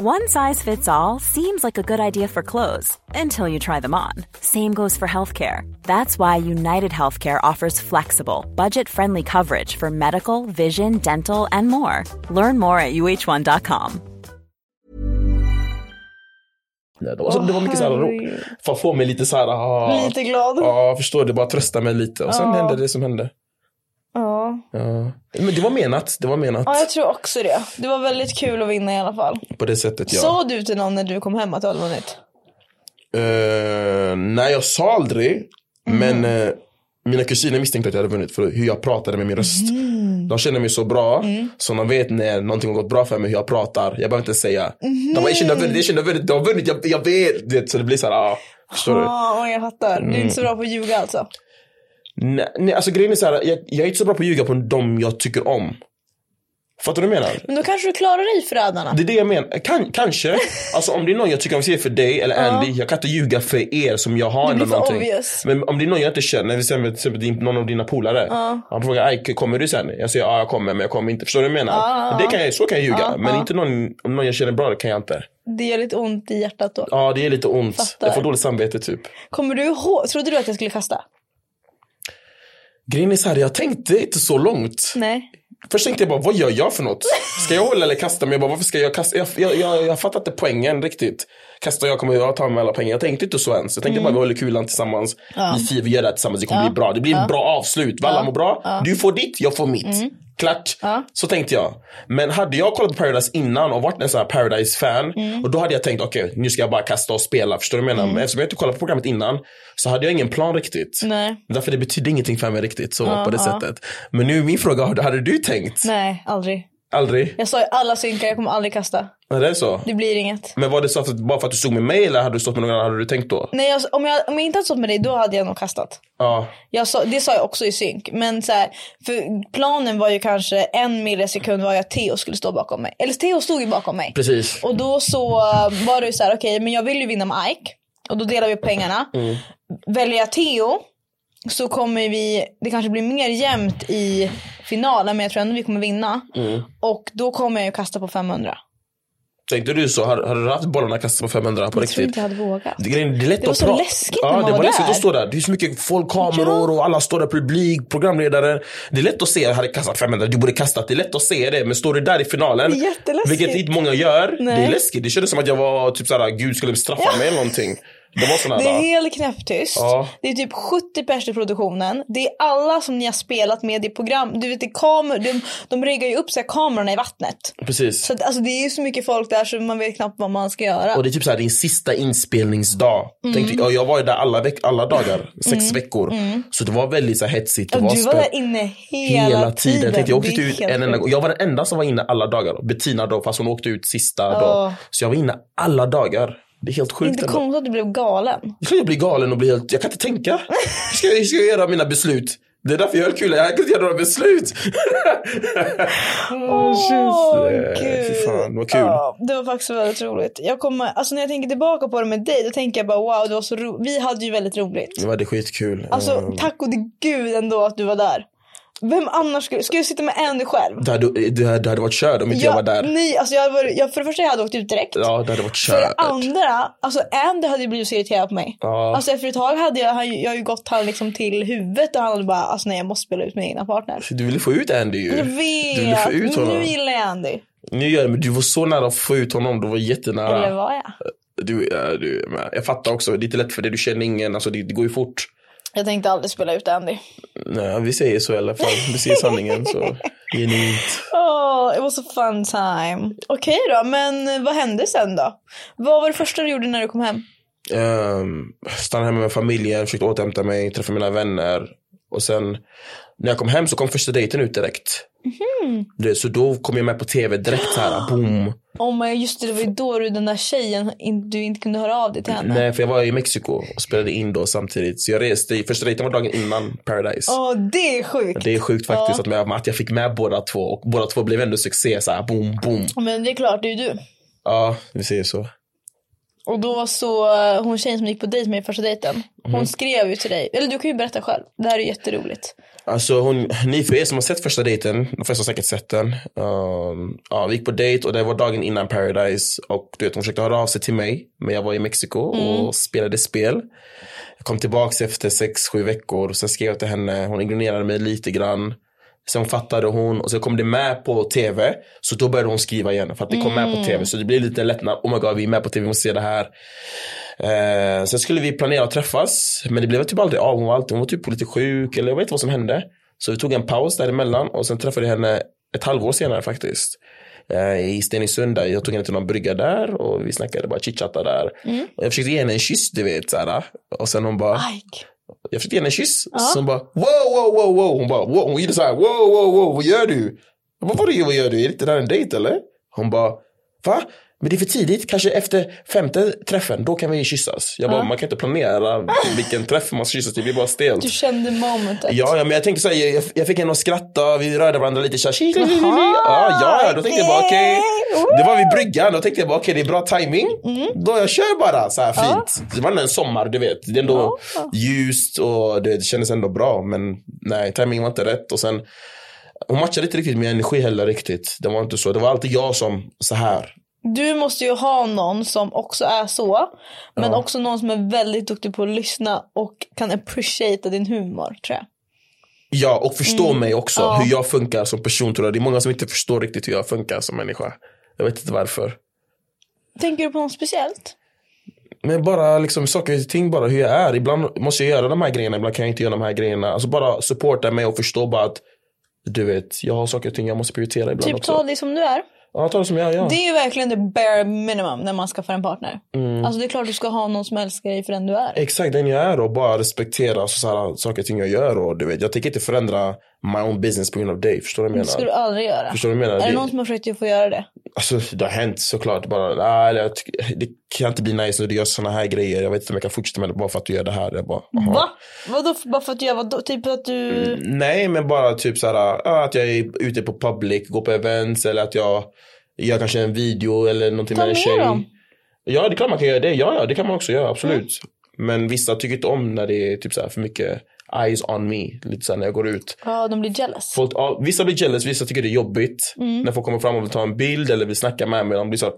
Speaker 3: One size fits all seems like a good idea for clothes until you try them on. Same goes for healthcare. That's why United Healthcare offers flexible, budget friendly coverage for medical, vision, dental, and more. Learn more at uh1.com.
Speaker 2: Det var, så, det var mycket så här, ro-
Speaker 1: herregud.
Speaker 2: för att få mig lite så här, ah,
Speaker 1: Lite glad. Ja.
Speaker 2: Ja, förstår du. Bara trösta mig lite. Och sen
Speaker 1: Ja.
Speaker 2: hände det som hände.
Speaker 1: Ja.
Speaker 2: Ja. Men det var menat. Det var menat
Speaker 1: jag tror också det. Det var väldigt kul att vinna i alla fall.
Speaker 2: på det sättet. Ja.
Speaker 1: Sa du till någon när du kom hem att du hade vunnit?
Speaker 2: Eh, nej, jag sa aldrig.
Speaker 1: Mhm.
Speaker 2: Men eh, mina kusiner misstänkte att jag hade vunnit för hur jag pratade med min röst.
Speaker 1: Mhm.
Speaker 2: De känner mig så bra,
Speaker 1: Mm.
Speaker 2: så de vet när någonting har gått bra för mig, hur jag pratar. Jag behöver inte säga. De bara, jag känner vunnit, jag känner vunnit, du har vunnit, jag, jag vet. Det, så det blir så här, ja. Förstår du?
Speaker 1: Ja, jag fattar. Du är inte så bra på att ljuga alltså.
Speaker 2: Nej, nej, alltså grejen är så här, jag, jag är inte så bra på att ljuga på de jag tycker om. Fattar du vad jag menar?
Speaker 1: Men då kanske du klarar dig förrädarna.
Speaker 2: Det är det jag menar. Kan, kanske. Alltså om det är någon jag tycker om, säger för dig eller Andy. Jag kan inte ljuga för er som jag har
Speaker 1: Det blir
Speaker 2: ändå
Speaker 1: för
Speaker 2: någonting.
Speaker 1: obvious.
Speaker 2: Men om det är någon jag inte känner, till exempel, till exempel din- någon av dina polare. Han frågar, Aj, kommer du sen? Jag säger, ja jag kommer men jag kommer inte. Förstår du vad jag menar? det kan jag, så kan jag ljuga. men inte någon, om någon jag känner bra, det kan jag inte.
Speaker 1: Det gör lite ont i hjärtat då.
Speaker 2: Ja det är lite ont.
Speaker 1: Fattar.
Speaker 2: Jag får dåligt samvete typ.
Speaker 1: Kommer du ihåg? Trodde du att jag skulle kasta?
Speaker 2: Grejen är så här, jag tänkte inte så långt.
Speaker 1: Nej.
Speaker 2: Först tänkte jag bara, vad gör jag för något? Ska jag hålla eller kasta? Men jag bara, varför ska jag kasta? Jag, jag, jag, jag fattar inte poängen riktigt. Kastar jag kommer jag ta med alla pengar. Jag tänkte inte så ens. Jag tänkte bara, vi håller kulan tillsammans. Vi firar, vi gör det här tillsammans. Det kommer bli bra. Det blir ett bra avslut. Vi alla mår bra. Du får ditt, jag får mitt. Klart. Så tänkte jag. Men hade jag kollat på Paradise innan och varit en sån här Paradise-fan. Och då hade jag tänkt, okej nu ska jag bara kasta och spela. Förstår du vad jag menar? Men eftersom jag inte kollat på programmet innan. Så hade jag ingen plan riktigt.
Speaker 1: Nej.
Speaker 2: Därför det betydde ingenting för mig riktigt så på det sättet. Men nu är min fråga, hade hade du tänkt?
Speaker 1: Nej, aldrig.
Speaker 2: Aldrig?
Speaker 1: Jag sa ju alla synkar, jag kommer aldrig kasta.
Speaker 2: Är det så?
Speaker 1: Det blir inget.
Speaker 2: Men var det så att bara för att du stod med mig eller hade du stått med någon annan hade du tänkt då?
Speaker 1: Nej, jag, om, jag, om jag inte hade stått med dig då hade jag nog kastat.
Speaker 2: Ja.
Speaker 1: Jag sa, det sa jag också i synk. Men så här, för planen var ju kanske en millisekund var jag att Theo skulle stå bakom mig. Eller Theo stod ju bakom mig.
Speaker 2: Precis.
Speaker 1: Och då så um, var det ju så här, okej men jag vill ju vinna med Ike. Och då delar vi upp pengarna.
Speaker 2: Mm.
Speaker 1: Väljer jag Theo så kommer vi, det kanske blir mer jämnt i finalen men jag tror ändå vi kommer vinna.
Speaker 2: Mm.
Speaker 1: Och då kommer jag ju kasta på 500.
Speaker 2: Tänkte du så? Hade, hade du haft bollarna kastade på 500 på
Speaker 1: Jag tror
Speaker 2: riktigt?
Speaker 1: inte jag hade vågat.
Speaker 2: Det, grejen, det, är lätt
Speaker 1: Det var
Speaker 2: att
Speaker 1: så
Speaker 2: prata-
Speaker 1: läskigt
Speaker 2: ja,
Speaker 1: när man
Speaker 2: det
Speaker 1: var
Speaker 2: var läskigt
Speaker 1: där.
Speaker 2: att stå där. Det är så mycket folk, kameror och alla står där, publik, programledare. Det är lätt att se, jag hade kastat 500, du borde kastat. Det är lätt att se det, men står du där i finalen,
Speaker 1: Det är jätteläskigt.
Speaker 2: vilket inte många gör, det
Speaker 1: Nej.
Speaker 2: är läskigt. Det kändes som att jag var typ såhär, gud skulle bestraffa mig eller någonting. Det var sådana
Speaker 1: Det är
Speaker 2: dagar.
Speaker 1: helt knäpptyst.
Speaker 2: Ja.
Speaker 1: Det är typ 70 pers i produktionen. Det är alla som ni har spelat med i program. Du vet, det är kamer- de, de riggar ju upp så här kamerorna i vattnet.
Speaker 2: Precis.
Speaker 1: Så att, alltså, det är ju så mycket folk där så man vet knappt vad man ska göra.
Speaker 2: Och det är typ såhär din sista inspelningsdag.
Speaker 1: Mm.
Speaker 2: Tänkte, jag, jag var ju där alla, veck- alla dagar, sex veckor. Så det var väldigt så här hetsigt. Det
Speaker 1: Mm. Ja, du var
Speaker 2: spänt
Speaker 1: där inne hela,
Speaker 2: hela tiden. Tänkte, jag åkte
Speaker 1: Det är
Speaker 2: inte ut
Speaker 1: helt
Speaker 2: en enda
Speaker 1: sjukt.
Speaker 2: gång. Jag var den enda som var inne alla dagar. då. Bettina då, fast hon åkte ut sista dagen. Så jag var inne alla dagar. Det är helt
Speaker 1: Det är
Speaker 2: sjukt.
Speaker 1: inte
Speaker 2: ändå.
Speaker 1: konstigt att du blev galen.
Speaker 2: Jag tror jag blir galen och blir helt, jag kan inte tänka. Hur ska, jag- hur ska jag göra mina beslut? Det är därför jag har kul, jag kan inte göra några beslut.
Speaker 1: Åh
Speaker 2: Eh, Fy fan, vad kul.
Speaker 1: Ja, det var faktiskt väldigt roligt. Jag kommer, alltså när jag tänker tillbaka på det med dig, då tänker jag bara wow, det var så roligt. Vi hade ju väldigt roligt.
Speaker 2: Det var det skitkul.
Speaker 1: Alltså
Speaker 2: Eh,
Speaker 1: tack och gud ändå att du var där. Vem annars skulle, ska jag sitta med en själv?
Speaker 2: det, hade, det, hade, det hade varit kört om inte jag, var där.
Speaker 1: Nej, alltså jag hade varit, jag, för det första jag hade åkt ut direkt.
Speaker 2: Ja, det hade varit
Speaker 1: För det
Speaker 2: kört.
Speaker 1: andra, alltså Andy hade ju blivit så irriterad på mig.
Speaker 2: Ja.
Speaker 1: Alltså efter ett tag hade jag, han, jag har ju gått han liksom till huvudet och han hade bara, alltså nej jag måste spela ut min egna partner.
Speaker 2: Du ville få ut Andy ju.
Speaker 1: Jag
Speaker 2: Du ville få
Speaker 1: vet,
Speaker 2: ut
Speaker 1: men
Speaker 2: honom.
Speaker 1: nu gillar jag Andy.
Speaker 2: Nu gör det, men du var så nära att få ut honom. Du var jättenära.
Speaker 1: Eller var jag?
Speaker 2: Du, ja, du, men jag fattar också, det är inte lätt för dig, du känner ingen, alltså det, det går ju fort.
Speaker 1: Jag tänkte aldrig spela ut Andy.
Speaker 2: Nej, vi säger så i alla fall, vi säger sanningen så. Genuint.
Speaker 1: Oh, it was a fun time. Okej då, men vad hände sen då? Vad var det första du gjorde när du kom hem?
Speaker 2: Um, stannade hemma med familjen, försökte återhämta mig, träffa mina vänner. Och sen när jag kom hem så kom första dejten ut direkt.
Speaker 1: Mhm.
Speaker 2: Det, så då kom jag med på tv direkt så här, boom.
Speaker 1: Oh my, just det, det var ju då du, den där tjejen, in, du inte kunde höra av dig till henne.
Speaker 2: Nej, för jag var i Mexiko och spelade in då samtidigt. Så jag reste, första dejten var dagen innan Paradise.
Speaker 1: Åh, det är sjukt.
Speaker 2: Det är sjukt faktiskt att, med, att jag fick med båda två och båda två blev ändå succé så här, boom, boom.
Speaker 1: Men det är klart, det är ju du.
Speaker 2: Ja, vi säger så.
Speaker 1: Och då så, eh, hon tjejen som gick på dejt med i första dejten, hon
Speaker 2: Mm.
Speaker 1: skrev ju till dig. Eller du kan ju berätta själv, det här är ju jätteroligt.
Speaker 2: Alltså hon, ni för er som har sett första dejten, de flesta har säkert sett den. Um, ja, vi gick på dejt och det var dagen innan Paradise och du vet hon försökte höra av sig till mig men jag var i Mexiko och spelade spel. Jag kom tillbaks efter sex, sju veckor och sen skrev jag till henne, hon ignorerade mig lite grann. Sen fattade hon och sen kom det med på tv så då började hon skriva igen för att det kom med på tv så det blev lite lättnad, oh my god vi är med på tv, vi måste se det här. Eh, sen skulle vi planera att träffas, men det blev typ aldrig av. Hon var, alltid, hon var typ lite sjuk, eller jag vet inte vad som hände. Så vi tog en paus däremellan och sen träffade jag henne ett halvår senare faktiskt. Eh, I Stenungsund, där. jag tog henne till någon brygga där och vi snackade bara chitchatta där. Och jag försökte ge henne en kyss, du vet. Så här, och sen hon bara,
Speaker 1: Ike.
Speaker 2: jag försökte ge henne en kyss. Så hon bara, wow, wow, wow, wow. Hon bara, wow. Hon gjorde så här, wow, wow, wow, vad gör du? Jag bara, vadå, vad gör du? Är det inte där en dejt eller? Hon bara, va? Men det är för tidigt, kanske efter femte träffen, då kan vi kyssas. Jag bara, man kan inte planera vilken träff man ska kyssas till, det blir bara stelt.
Speaker 1: Du kände momentet.
Speaker 2: Ja, ja, men jag tänkte så här, jag, jag fick henne att skratta, vi rörde varandra lite så här, tji, li, li, li, li.
Speaker 1: Jaha,
Speaker 2: ja, ja, ja, då tänkte jag bara okej.
Speaker 1: okej.
Speaker 2: Det var vid bryggan, då tänkte jag bara okej, det är bra timing. Då jag kör bara så här fint. Det var ändå en sommar, du vet. Det är ändå ljust och det, det kändes ändå bra, men nej, timingen var inte rätt och sen hon matchade inte riktigt min energi heller riktigt. Det var inte så. Det var alltid jag som så här.
Speaker 1: Du måste ju ha någon som också är så. Men också någon som är väldigt duktig på att lyssna och kan appreciata din humor tror jag.
Speaker 2: Ja, och förstå mig också. Hur jag funkar som person tror jag. Det är många som inte förstår riktigt hur jag funkar som människa. Jag vet inte varför.
Speaker 1: Tänker du på något speciellt?
Speaker 2: Men bara liksom saker och ting bara hur jag är. Ibland måste jag göra de här grejerna, ibland kan jag inte göra de här grejerna. Alltså bara supporta mig och förstå bara att du vet, jag har saker och ting jag måste prioritera ibland
Speaker 1: Typ
Speaker 2: också.
Speaker 1: ta det som du är.
Speaker 2: Ja, ta det som jag gör.
Speaker 1: Det är ju verkligen det bare minimum när man skaffar en partner. Alltså det är klart du ska ha någon som älskar dig för den du är.
Speaker 2: Mm. Exakt den jag är och bara respektera alltså, så här, saker och ting jag gör. Och, du vet, jag tänker inte förändra my own business på grund av dig. Förstår du vad jag
Speaker 1: Det ska du
Speaker 2: menar?
Speaker 1: aldrig göra.
Speaker 2: Förstår du vad jag menar?
Speaker 1: Är det
Speaker 2: Det-
Speaker 1: någon som har försökt att få göra det?
Speaker 2: Alltså det har hänt såklart. Bara, nej, det, jag tycker- det kan inte bli nice när du gör såna här grejer. Jag vet inte om jag kan fortsätta med det bara för att du gör det här. Jag bara, aha.
Speaker 1: Va? Vadå för- bara för att jag var typ att du...
Speaker 2: Mm, Nej men bara typ såhär, ja, att jag är ute på public, går på events eller att jag gör kanske en video eller någonting
Speaker 1: Ta
Speaker 2: med en
Speaker 1: med
Speaker 2: tjej.
Speaker 1: dem. Mm.
Speaker 2: Ja det är klart man kan göra det, ja, ja det kan man också göra absolut. Men vissa tycker inte om när det är typ såhär för mycket eyes on me, lite såhär när jag går ut.
Speaker 1: Ja, de blir jealous.
Speaker 2: Folk, ja, vissa blir jealous, vissa tycker det är jobbigt.
Speaker 1: Mm.
Speaker 2: När folk kommer fram och vill ta en bild eller vill snacka med mig, de blir såhär,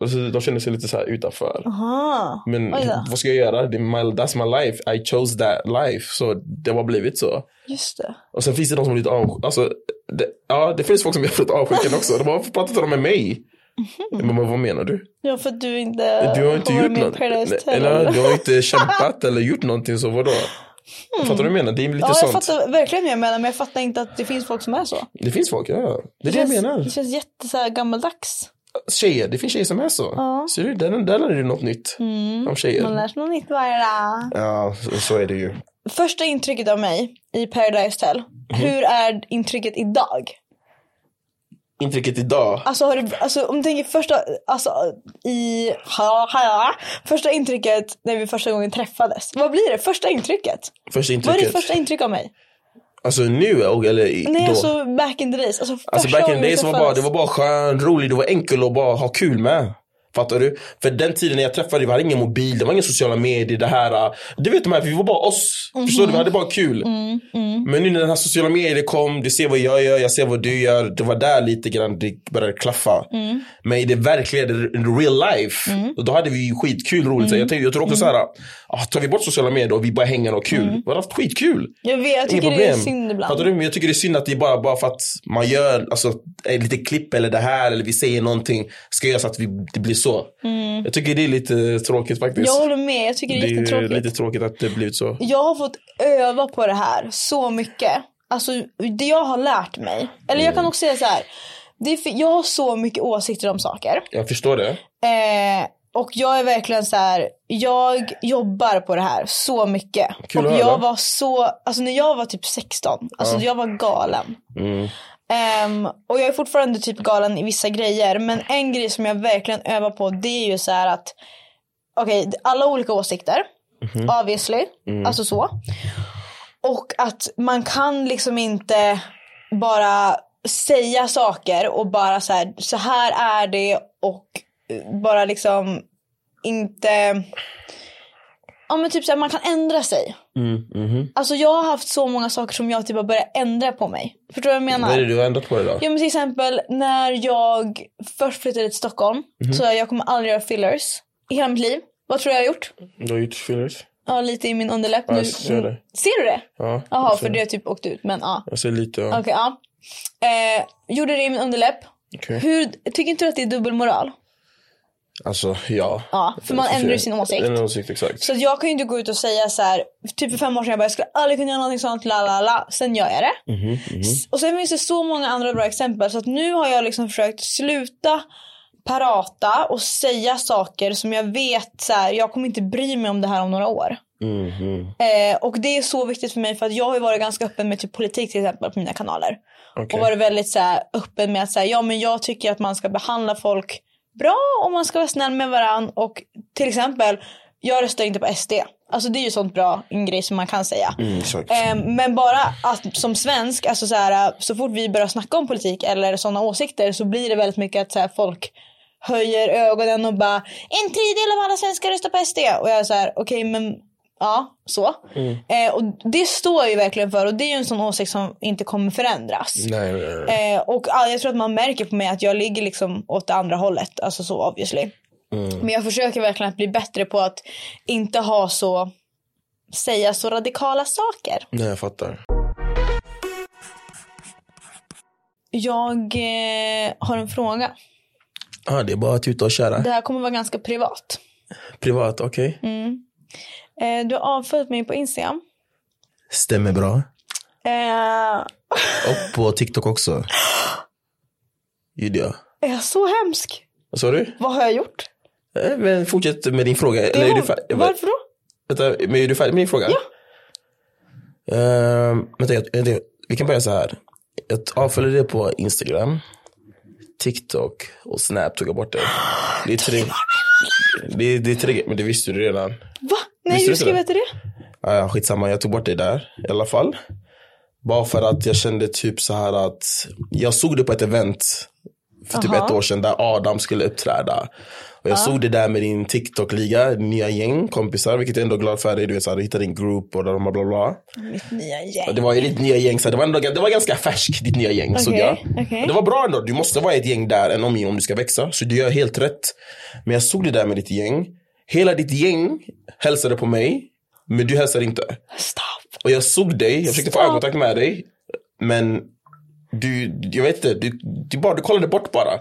Speaker 2: Och så de känner sig lite såhär utanför.
Speaker 1: Aha.
Speaker 2: Men
Speaker 1: Oj då.
Speaker 2: vad ska jag göra? Det är my, that's my life, I chose that life. Så det har blivit så.
Speaker 1: Just det.
Speaker 2: Och sen finns det de som är lite avsjuka. Alltså, det, ja, det finns folk som är lite avsjuka också. De bara, varför pratar de med mig?
Speaker 1: Mhm.
Speaker 2: Men vad- vad menar du?
Speaker 1: Ja, för att du inte
Speaker 2: Du har inte
Speaker 1: varit
Speaker 2: gjort
Speaker 1: med i
Speaker 2: något.
Speaker 1: Paradise
Speaker 2: Nej,
Speaker 1: Hotel,
Speaker 2: Eller
Speaker 1: eller?
Speaker 2: du har inte kämpat eller gjort någonting så vadå? Fattar du vad jag menar? Det är lite
Speaker 1: Mm. Ja, jag
Speaker 2: sånt.
Speaker 1: fattar verkligen vad jag menar, men jag fattar inte att det finns folk som är så.
Speaker 2: Det finns folk, ja. Det är det,
Speaker 1: känns,
Speaker 2: jag menar.
Speaker 1: det känns jätte så här, gammaldags.
Speaker 2: Tjejer, det finns tjejer som är så. Ser du, där, där lär du dig något nytt. Om
Speaker 1: Man
Speaker 2: tjejer.
Speaker 1: Mm. lär sig något nytt varje dag.
Speaker 2: Ja, så, så är det ju.
Speaker 1: Första intrycket av mig i Paradise Hotel,
Speaker 2: Mm.
Speaker 1: hur är intrycket idag?
Speaker 2: Intrycket idag.
Speaker 1: Alltså, har du, alltså om du tänker första, alltså i, ha, ha, ha, första intrycket när vi första gången träffades. Vad blir det? Första intrycket?
Speaker 2: Första
Speaker 1: Vad är ditt
Speaker 2: intrycket.
Speaker 1: första intryck av mig?
Speaker 2: Alltså nu och- eller i-
Speaker 1: Nej
Speaker 2: då.
Speaker 1: alltså back in the days. Alltså, första
Speaker 2: Alltså back in
Speaker 1: gången
Speaker 2: the
Speaker 1: vi
Speaker 2: days var bara,
Speaker 1: träffades.
Speaker 2: det var bara skön, rolig, det var enkel och bara ha kul med. Fattar du? För den tiden när jag träffade dig, vi hade ingen mobil, det var inga sociala medier, det här. äh, Du vet de här, vi var bara oss. Förstår
Speaker 1: Mhm.
Speaker 2: du? Vi hade bara kul.
Speaker 1: Mm,
Speaker 2: Men nu när den här sociala medier kom, du ser vad jag gör, jag ser vad du gör. Det var där lite grann det började klaffa.
Speaker 1: Mm.
Speaker 2: Men i det verkliga, det real life, då hade vi ju skitkul roligt. Så
Speaker 1: Mm.
Speaker 2: Jag, tänkte, jag tror också så här, ah, tar vi bort sociala medier och vi bara hänger och har kul. Vi hade haft skitkul.
Speaker 1: Mm. Jag vet, jag tycker det är synd ibland.
Speaker 2: Fattar du? Men jag tycker det är synd att det är bara, bara för att man gör alltså, eh, lite klipp eller det här eller vi säger någonting ska göra så att vi, det blir så. Jag tycker det är lite tråkigt faktiskt.
Speaker 1: Jag håller med, jag tycker Mm. det är
Speaker 2: det är
Speaker 1: jättetråkigt.
Speaker 2: lite tråkigt att det blivit så.
Speaker 1: Jag har fått öva på det här så mycket. Alltså det jag har lärt mig. Eller jag kan
Speaker 2: Mm.
Speaker 1: också säga så här. Det är för, jag har så mycket åsikter om saker.
Speaker 2: Jag förstår det.
Speaker 1: Eh, och jag är verkligen så här. jag jobbar på det här så mycket.
Speaker 2: Eh. Kul att
Speaker 1: och
Speaker 2: höra.
Speaker 1: jag var så, alltså när jag var typ 16, alltså jag var galen.
Speaker 2: Mm.
Speaker 1: Ehm, och jag är fortfarande typ galen i vissa grejer. Men en grej som jag verkligen övar på det är ju så här att Okej, alla olika åsikter.
Speaker 2: Mhm.
Speaker 1: Obviously.
Speaker 2: Mm.
Speaker 1: Alltså så. Och att man kan liksom inte bara säga saker och bara så här, så här är det och eh, bara liksom inte... Ja men typ så här, man kan ändra sig.
Speaker 2: Mm, mhm.
Speaker 1: Alltså jag har haft så många saker som jag typ har börjat ändra på mig. Förstår du vad jag menar?
Speaker 2: Vad är det du har ändrat på det då?
Speaker 1: Ja men till exempel när jag först flyttade till Stockholm
Speaker 2: Mhm.
Speaker 1: så jag kommer aldrig göra fillers i hela mitt liv. Vad tror jag jag har gjort?
Speaker 2: Du har gjort fillers?
Speaker 1: Ja lite i min underläpp
Speaker 2: Ja,
Speaker 1: nu.
Speaker 2: jag ser det.
Speaker 1: Ser du det?
Speaker 2: Ja.
Speaker 1: Jaha
Speaker 2: jag ser-
Speaker 1: för det har typ åkt ut men ja.
Speaker 2: Jag ser lite. Ja.
Speaker 1: Okej ja. Eh, gjorde det i min underläpp.
Speaker 2: Okej.
Speaker 1: Hur, tycker inte du att det är dubbelmoral?
Speaker 2: Alltså ja.
Speaker 1: Ja, för man ändrar ju sin åsikt.
Speaker 2: En åsikt exakt.
Speaker 1: Så att jag kan ju inte gå ut och säga så här, typ för fem år sedan jag bara jag skulle aldrig kunna göra någonting sånt, la la la. Sen gör jag det. S- Och sen finns det så många andra bra exempel så att nu har jag liksom försökt sluta parata och säga saker som jag vet så här, jag kommer inte bry mig om det här om några år. Eh, och det är så viktigt för mig för att jag har ju varit ganska öppen med typ politik till exempel på mina kanaler.
Speaker 2: Okej.
Speaker 1: Och varit väldigt så här, öppen med att säga ja men jag tycker att man ska behandla folk bra och man ska vara snäll med varann. Och till exempel, jag röstar inte på SD. Alltså det är ju sånt bra, en grej som man kan säga.
Speaker 2: Mm, exakt.
Speaker 1: Eh, men bara att som svensk, alltså så, här, så fort vi börjar snacka om politik eller sådana åsikter så blir det väldigt mycket att så här, folk höjer ögonen och bara en tredjedel av alla svenskar röstar på SD. Och jag är så här, okej men ja, så. Eh, och det står jag ju verkligen för och det är ju en sån åsikt som inte kommer förändras.
Speaker 2: Nej, nej, nej.
Speaker 1: Eh, och ja, jag tror att man märker på mig att jag ligger liksom åt det andra hållet. Alltså så obviously. Men jag försöker verkligen att bli bättre på att inte ha så säga så radikala saker.
Speaker 2: nej, jag fattar.
Speaker 1: Jag eh, har en fråga.
Speaker 2: Ah, det är bara att tuta och köra.
Speaker 1: Det Mm. här kommer vara ganska privat.
Speaker 2: Privat, okej.
Speaker 1: Eh, du har avföljt mig på Instagram.
Speaker 2: Stämmer bra.
Speaker 1: Eh,
Speaker 2: Och på TikTok också. Gjorde jag.
Speaker 1: är jag så hemsk?
Speaker 2: Vad sa du?
Speaker 1: Vad har jag gjort?
Speaker 2: Eh, Men fortsätt med din fråga.
Speaker 1: Det
Speaker 2: Eller är
Speaker 1: har-
Speaker 2: du fär-
Speaker 1: Varför då?
Speaker 2: Vänta, men är du färdig med din fråga? Ja. vänta, jag, jag, vi kan börja så här. Jag avföljde det på Instagram, TikTok och Snap tog jag bort det. Det är tre. Det, är- det är tre men det visste du redan.
Speaker 1: Va? Nej,
Speaker 2: Visste
Speaker 1: hur
Speaker 2: du
Speaker 1: skrev
Speaker 2: det?
Speaker 1: jag till det?
Speaker 2: Ja, ja, skitsamma, jag tog bort det där i alla fall. Bara för att jag kände typ så här att jag såg det på ett event för typ ett år sedan där Adam skulle uppträda. Och jag såg det där med din TikTok-liga, nya gäng, kompisar, vilket jag är ändå glad för dig. Du vet, så här, du hittade din group och bla bla bla. bla.
Speaker 1: Mitt nya
Speaker 2: Ja,
Speaker 1: gäng.
Speaker 2: Det var ju ditt nya gäng, så det var, ändå, det var ganska färskt ditt nya gäng såg
Speaker 1: Okej,
Speaker 2: jag.
Speaker 1: okej.
Speaker 2: Det var bra ändå, du måste vara i ett gäng där, en omgivning om du ska växa. Så du gör helt rätt. Men jag såg det där med ditt gäng. Hela ditt gäng hälsade på mig, men du hälsade inte.
Speaker 1: Stopp.
Speaker 2: Och jag såg dig, jag försökte få
Speaker 1: Stopp.
Speaker 2: ögonkontakt med dig. Men du, jag vet inte, du, du, bara, du kollade bort bara.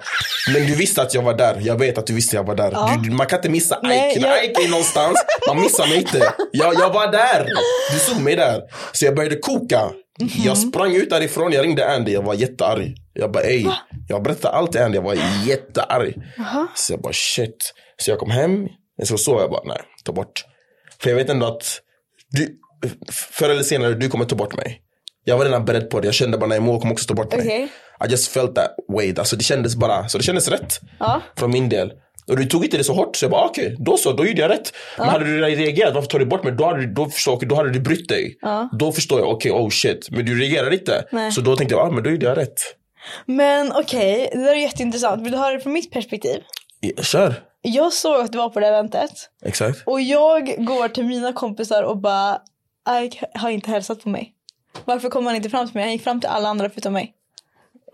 Speaker 2: Men du visste att jag var där, jag vet att du visste jag var där. Du, man kan inte missa
Speaker 1: Nej,
Speaker 2: Ike,
Speaker 1: jag-
Speaker 2: när Ike är någonstans, man missar mig inte. Jag, jag var där, du såg mig där. Så jag började koka.
Speaker 1: Mhm.
Speaker 2: Jag sprang ut därifrån, jag ringde Andy, jag var jättearg. Jag bara ey, jag berättade allt till Andy, jag var jättearg. Så jag bara shit. Så jag kom hem, så sov jag bara, nej, ta bort. För jag vet ändå att du, förr eller senare, du kommer ta bort mig. Jag var redan beredd på det. Jag kände bara, nej, Moa kommer också ta bort mig.
Speaker 1: Okej.
Speaker 2: I just felt that way. Alltså, det kändes bara, så det kändes rätt.
Speaker 1: Ja.
Speaker 2: Från min del. Och du tog inte det så hårt, så jag bara, "Ah, okej, då så, då gjorde jag rätt. Men hade du reagerat, varför tar du bort mig? Då hade du, då förstår, jag, då hade du brytt dig. Då förstår jag, okej, oh shit. Men du reagerade inte.
Speaker 1: Nej.
Speaker 2: Så då tänkte jag, ah, men då gjorde jag rätt.
Speaker 1: Men okej, det där är jätteintressant. Vill du höra det från mitt perspektiv?
Speaker 2: Ja, kör.
Speaker 1: Jag såg att du var på det eventet.
Speaker 2: Exakt.
Speaker 1: Och jag går till mina kompisar och bara, Ike har inte hälsat på mig. Varför kom han inte fram till mig? Han gick fram till alla andra förutom mig.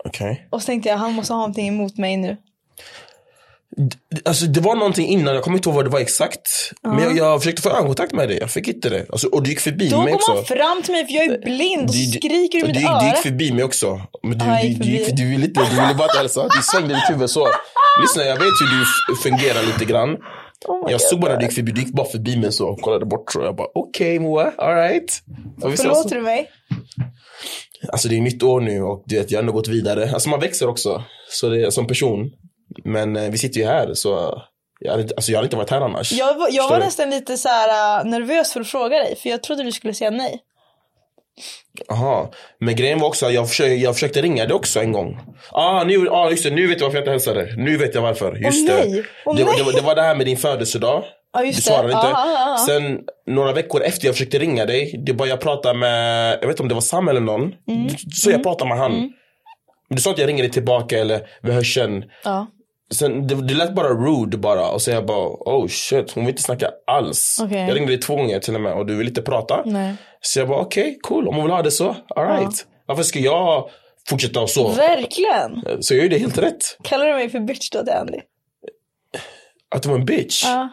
Speaker 2: Okej.
Speaker 1: Och så tänkte jag, han måste ha någonting emot mig nu.
Speaker 2: Alltså det var någonting innan, jag kommer inte ihåg vad det var exakt. Men jag, jag försökte få ögonkontakt med dig, jag fick inte det. Alltså, och du gick förbi
Speaker 1: Då
Speaker 2: mig också.
Speaker 1: kom han fram till mig för jag är blind och
Speaker 2: Du-
Speaker 1: skriker i
Speaker 2: du,
Speaker 1: mitt
Speaker 2: du,
Speaker 1: öra.
Speaker 2: du gick förbi mig också. Men du,
Speaker 1: Ja, jag
Speaker 2: du,
Speaker 1: gick
Speaker 2: du, gick
Speaker 1: förbi.
Speaker 2: du ville inte, du ville bara inte hälsa. Du svängde ditt huvud så. Lyssna, jag vet hur du f- fungerar lite grann.
Speaker 1: Oh my
Speaker 2: jag
Speaker 1: God.
Speaker 2: såg bara när du gick förbi, du gick bara förbi mig så och kollade bort. tror jag. jag bara, okej Moa, alright.
Speaker 1: Förlåter du mig?
Speaker 2: Alltså det är nytt år nu och du vet, jag har ändå gått vidare. Alltså man växer också så det, som person. Men eh, vi sitter ju här så jag hade, inte- alltså, jag hade inte varit här annars.
Speaker 1: Jag, var- jag
Speaker 2: Förstår
Speaker 1: var
Speaker 2: du?
Speaker 1: nästan lite så här äh, nervös för att fråga dig för jag trodde du skulle säga nej.
Speaker 2: Aha. Men grejen var också att jag försökte, jag försökte ringa dig också en gång. Ah, nu, ah, just det, nu vet jag varför jag inte hälsade. Nu vet jag varför. Just
Speaker 1: Åh,
Speaker 2: det.
Speaker 1: nej. Åh,
Speaker 2: det, var-
Speaker 1: nej.
Speaker 2: det, var- det var det här med din födelsedag.
Speaker 1: Ja, just
Speaker 2: du
Speaker 1: det. Ah,
Speaker 2: svarade inte.
Speaker 1: Ja, ja, ja.
Speaker 2: Sen några veckor efter jag försökte ringa dig, det bara jag pratade med, jag vet inte om det var Sam eller någon.
Speaker 1: Mm.
Speaker 2: Så jag pratade med han. Men du sa inte jag ringer dig tillbaka eller vi hörs sen.
Speaker 1: Ja.
Speaker 2: Sen, det, det lät bara rude bara och sen jag bara oh shit hon vill inte snacka alls.
Speaker 1: Okej.
Speaker 2: Jag ringde dig två gånger till och med och du vill inte prata.
Speaker 1: Nej.
Speaker 2: Så jag bara okej cool om hon vill ha det så alright. Varför ska jag fortsätta så?
Speaker 1: Verkligen.
Speaker 2: Så jag gjorde helt rätt.
Speaker 1: Kallar du mig för bitch då till Andy?
Speaker 2: Att du var en bitch.
Speaker 1: Ja.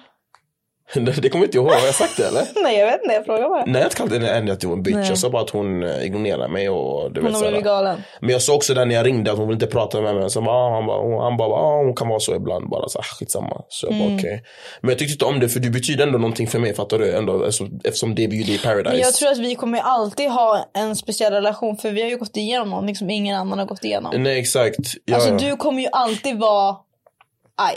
Speaker 2: det kommer jag inte ihåg, har jag sagt det eller?
Speaker 1: Nej jag vet inte, jag frågar bara.
Speaker 2: Nej jag kallade henne ändå att du var en bitch.
Speaker 1: Nej.
Speaker 2: Jag sa bara att hon eh, ignorerade mig och du
Speaker 1: Hon
Speaker 2: vet
Speaker 1: har
Speaker 2: så här.
Speaker 1: blivit galen.
Speaker 2: Men jag sa också där när jag ringde att hon vill inte prata med mig. Så bara, ah, han bara, hon, han bara, ah, hon kan vara så ibland. Bara så, ah, skitsamma. Så jag
Speaker 1: Mm.
Speaker 2: bara, okej. Men jag tyckte inte om det för du betyder ändå någonting för mig fattar du? Ändå, eftersom, eftersom det vi gjorde i Paradise.
Speaker 1: Men jag tror att vi kommer alltid ha en speciell relation för vi har ju gått igenom någonting som ingen annan har gått igenom.
Speaker 2: Nej exakt. Ja,
Speaker 1: Alltså
Speaker 2: ja.
Speaker 1: du kommer ju alltid vara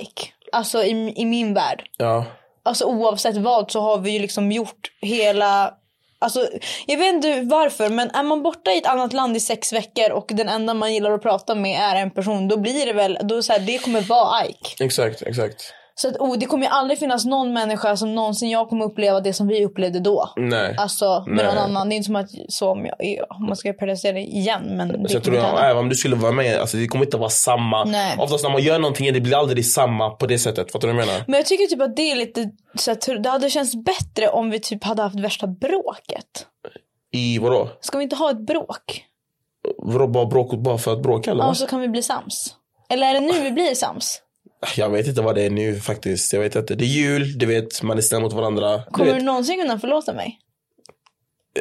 Speaker 1: Ike. Alltså i, i min värld.
Speaker 2: ja.
Speaker 1: Alltså oavsett vad så har vi ju liksom gjort hela... Alltså, jag vet inte varför men är man borta i ett annat land i sex veckor och den enda man gillar att prata med är en person då blir det väl, då är det så här, det kommer vara Ike.
Speaker 2: Exakt, exakt.
Speaker 1: Så att, oh, det kommer ju aldrig finnas någon människa som någonsin jag kommer uppleva det som vi upplevde då.
Speaker 2: Nej.
Speaker 1: Alltså med
Speaker 2: Nej.
Speaker 1: någon annan. Det är inte som att så om, jag, är- om man ska göra Paradise Hotel igen men det
Speaker 2: Så jag
Speaker 1: kommer
Speaker 2: tror
Speaker 1: inte
Speaker 2: att
Speaker 1: hända.
Speaker 2: även om du skulle vara med, alltså, det kommer inte vara samma.
Speaker 1: Nej.
Speaker 2: Oftast när man gör någonting det blir aldrig samma på det sättet. Fattar du vad jag menar?
Speaker 1: Men jag tycker typ att det är lite så här, tur- det hade känts bättre om vi typ hade haft värsta bråket.
Speaker 2: I vadå?
Speaker 1: Ska vi inte ha ett bråk?
Speaker 2: Vadå bara bråk bara för att bråka eller?
Speaker 1: Ja,
Speaker 2: vad?
Speaker 1: så kan vi bli sams. Eller är det nu vi blir sams? Alltså-
Speaker 2: Jag vet inte vad det är nu faktiskt. Jag vet inte. Det är jul, du vet man är snäll mot varandra. Du
Speaker 1: Kommer
Speaker 2: vet.
Speaker 1: du någonsin kunna förlåta mig?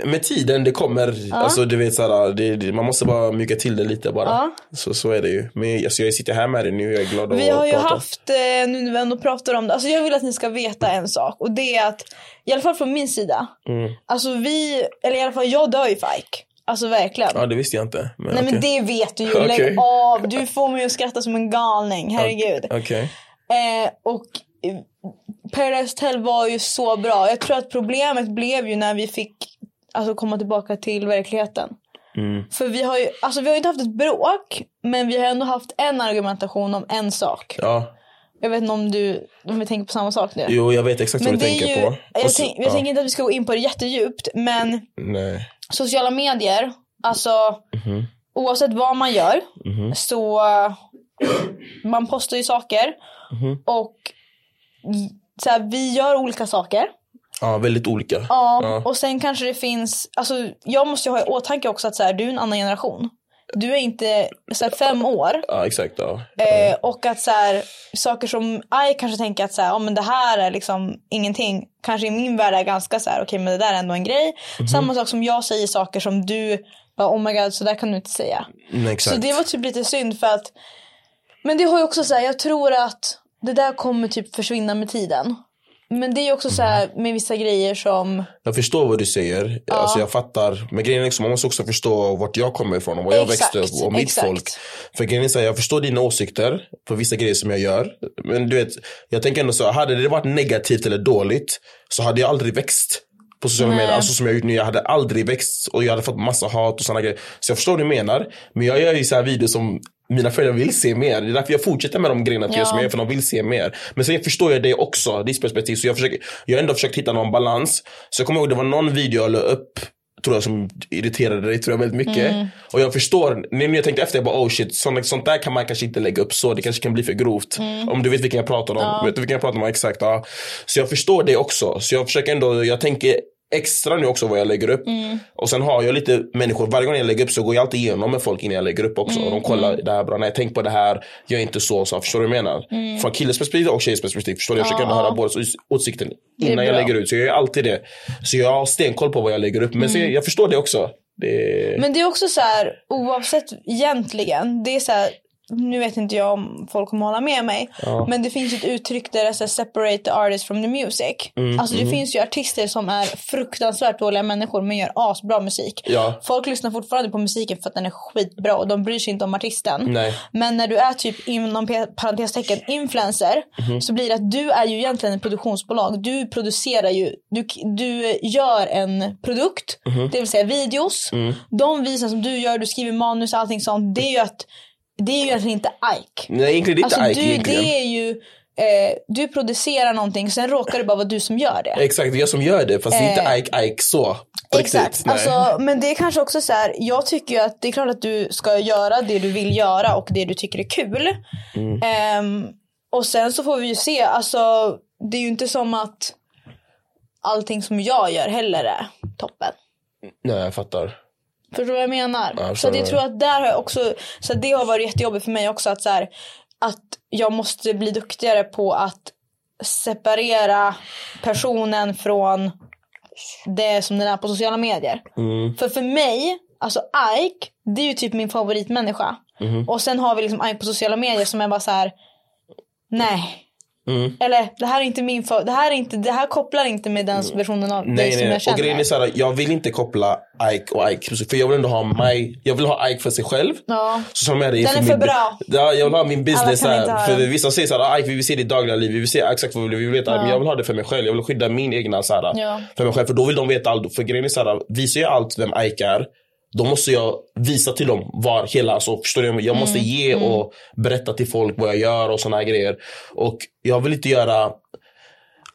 Speaker 2: med tiden det kommer, alltså du vet såhär, det, det, man måste bara mjuka till det lite bara.
Speaker 1: Ja.
Speaker 2: Så, så är det ju. Men alltså, jag sitter här med det nu, jag är glad att
Speaker 1: Vi har ju
Speaker 2: prata.
Speaker 1: haft, eh, nu när vi ändå pratar om det, alltså jag vill att ni ska veta en sak och det är att, i alla fall från min sida,
Speaker 2: Mm.
Speaker 1: alltså vi, eller i alla fall jag dör ju för Ike. Alltså verkligen.
Speaker 2: Ja det visste jag inte. Men,
Speaker 1: Nej men
Speaker 2: okej.
Speaker 1: det vet du ju,
Speaker 2: Okej.
Speaker 1: lägg av, du får mig att skratta som en galning, herregud.
Speaker 2: Okej.
Speaker 1: Eh, och eh, Paradise Hotel var ju så bra. Jag tror att problemet blev ju när vi fick alltså, komma tillbaka till verkligheten.
Speaker 2: Mm.
Speaker 1: För vi har ju alltså, vi har ju inte haft ett bråk, men vi har ändå haft en argumentation om en sak.
Speaker 2: Ja.
Speaker 1: Jag vet inte om, du, om vi tänker på samma sak nu.
Speaker 2: Jo jag vet exakt
Speaker 1: men
Speaker 2: vad du tänker
Speaker 1: ju,
Speaker 2: på. Och
Speaker 1: jag,
Speaker 2: så-
Speaker 1: tänk, jag
Speaker 2: ja.
Speaker 1: tänker inte att vi ska gå in på det jättedjupt, men
Speaker 2: Nej.
Speaker 1: sociala medier, alltså oavsett vad man gör så man postar ju saker och j- så här, vi gör olika saker.
Speaker 2: Ja väldigt olika.
Speaker 1: Ja,
Speaker 2: Ja.
Speaker 1: Och sen kanske det finns, alltså jag måste ju ha i åtanke också att så här, du är en annan generation. Du är inte så här, fem år
Speaker 2: Ja, exakt ja.
Speaker 1: eh, och att så här, saker som jag kanske tänker att så här, ja, men det här är liksom ingenting kanske i min värld är ganska så här okej men det där är ändå en grej.
Speaker 2: Mhm.
Speaker 1: Samma sak som jag säger saker som du bara oh my god så där kan du inte säga.
Speaker 2: Nej, Mm, exakt.
Speaker 1: Så det var typ lite synd för att Men det har ju också så här, jag tror att det där kommer typ försvinna med tiden. Men det är ju också så här
Speaker 2: Mm.
Speaker 1: med vissa grejer som
Speaker 2: Jag förstår vad du säger. Alltså jag fattar. Men grejen är också, man måste också förstå vart jag kommer ifrån och var jag
Speaker 1: Exakt,
Speaker 2: växte upp och mitt
Speaker 1: exakt.
Speaker 2: folk. För grejen är så här, jag förstår dina åsikter för vissa grejer som jag gör. Men du vet, jag tänker ändå så här, hade det varit negativt eller dåligt så hade jag aldrig växt på sociala medier, alltså som jag har gjort nu. Jag hade aldrig växt och jag hade fått massa hat och sådana grejer. Så jag förstår vad du menar. Men jag gör ju så här videos som mina föräldrar vill se mer. Det är därför jag fortsätter med de grejerna till
Speaker 1: Ja.
Speaker 2: som jag gör, för de vill se mer. Men sen förstår jag det också, ditt perspektiv. Så jag, försöker, jag har ändå försökt hitta någon balans. Så jag kommer ihåg det var någon video jag la upp tror jag som irriterade dig tror jag väldigt mycket. Och jag förstår, när jag tänkte efter jag bara oh shit, sånt, sånt där kan man kanske inte lägga upp så, det kanske kan bli för grovt. Om du vet vilken jag pratar om, vet du vilken jag pratar om? Exakt, ja. Så jag förstår det också. Så jag försöker ändå, jag tänker extra nu också vad jag lägger upp. Och sen har jag lite människor, varje gång jag lägger upp så går jag alltid igenom med folk innan jag lägger upp också. Och de kollar det här bra, nej tänk på det här, gör inte så, så. Förstår du vad jag menar? Från killes perspektiv och tjejs perspektiv. Förstår du? Jag försöker ändå höra bådas ås- åsikter innan jag
Speaker 1: bra.
Speaker 2: lägger ut. Så jag gör alltid det. Så jag har stenkoll på vad jag lägger upp. Men så jag,
Speaker 1: Mm.
Speaker 2: jag förstår det också. Det...
Speaker 1: Men det är också så här, oavsett egentligen, det är så här, nu vet inte jag om folk kommer hålla med mig, men det finns ju ett uttryck där det är så här, separate the artist from the music.
Speaker 2: Mm,
Speaker 1: alltså det finns ju artister som är fruktansvärt dåliga människor men gör asbra musik.
Speaker 2: Ja.
Speaker 1: Folk lyssnar fortfarande på musiken för att den är skitbra och de bryr sig inte om artisten.
Speaker 2: Nej.
Speaker 1: Men när du är typ inom pe- parentestecken influencer
Speaker 2: Mhm.
Speaker 1: så blir det att du är ju egentligen ett produktionsbolag. Du producerar ju, du, du gör en produkt,
Speaker 2: Mhm.
Speaker 1: det vill säga videos.
Speaker 2: Mm.
Speaker 1: De visar som du gör, du skriver manus och allting sånt. Det är ju att det är ju egentligen inte Ike.
Speaker 2: Nej, egentligen det är inte
Speaker 1: Alltså
Speaker 2: Ike
Speaker 1: du,
Speaker 2: egentligen.
Speaker 1: det är ju, eh, du producerar någonting sen råkar det bara vara du som gör det.
Speaker 2: Exakt, det är jag som gör det. Fast det är inte Ike, Ike så. På
Speaker 1: Eh, Exakt.
Speaker 2: riktigt, nej.
Speaker 1: Alltså, men det är kanske också så här. Jag tycker ju att det är klart att du ska göra det du vill göra och det du tycker är kul.
Speaker 2: Mm.
Speaker 1: Ehm, och sen så får vi ju se. Alltså, det är ju inte som att allting som jag gör heller är toppen.
Speaker 2: Nej, jag fattar.
Speaker 1: Förstår du vad jag menar?
Speaker 2: jag
Speaker 1: så att jag
Speaker 2: förstår.
Speaker 1: tror att där har jag också, så att det har varit jättejobbigt för mig också att så här, att jag måste bli duktigare på att separera personen från det som den är på sociala medier.
Speaker 2: Mm.
Speaker 1: För för mig, alltså Ike, det är ju typ min favoritmänniska.
Speaker 2: Mm.
Speaker 1: Och sen har vi liksom Ike på sociala medier som är bara så här. nej.
Speaker 2: Mm.
Speaker 1: Eller det här är inte min fa- det här är inte, det här kopplar inte med den versionen av dig
Speaker 2: Mm. Nej,
Speaker 1: som
Speaker 2: nej,
Speaker 1: jag
Speaker 2: nej.
Speaker 1: känner.
Speaker 2: Och grejen är så här, jag vill inte koppla Ike och Ike. För jag vill ändå ha mig, jag vill ha Ike för sig själv.
Speaker 1: Ja.
Speaker 2: Så som är det
Speaker 1: Den är
Speaker 2: min,
Speaker 1: för bra.
Speaker 2: Ja, jag vill ha min business.
Speaker 1: Alla kan
Speaker 2: här,
Speaker 1: inte ha
Speaker 2: för
Speaker 1: den.
Speaker 2: vissa säger så här, Ike vi vill se ditt dagliga liv, vi vill se exakt vad vi vill, vi vill veta. Men jag vill ha det för mig själv, jag vill skydda min egna så här,
Speaker 1: Ja.
Speaker 2: för mig själv. För då vill de veta allt. För grejen är så här, visar jag allt vem Ike är, då måste jag visa till dem var hela, alltså, förstår du? Jag måste
Speaker 1: Mm,
Speaker 2: ge och berätta till folk vad jag gör och såna här grejer. Och jag vill inte göra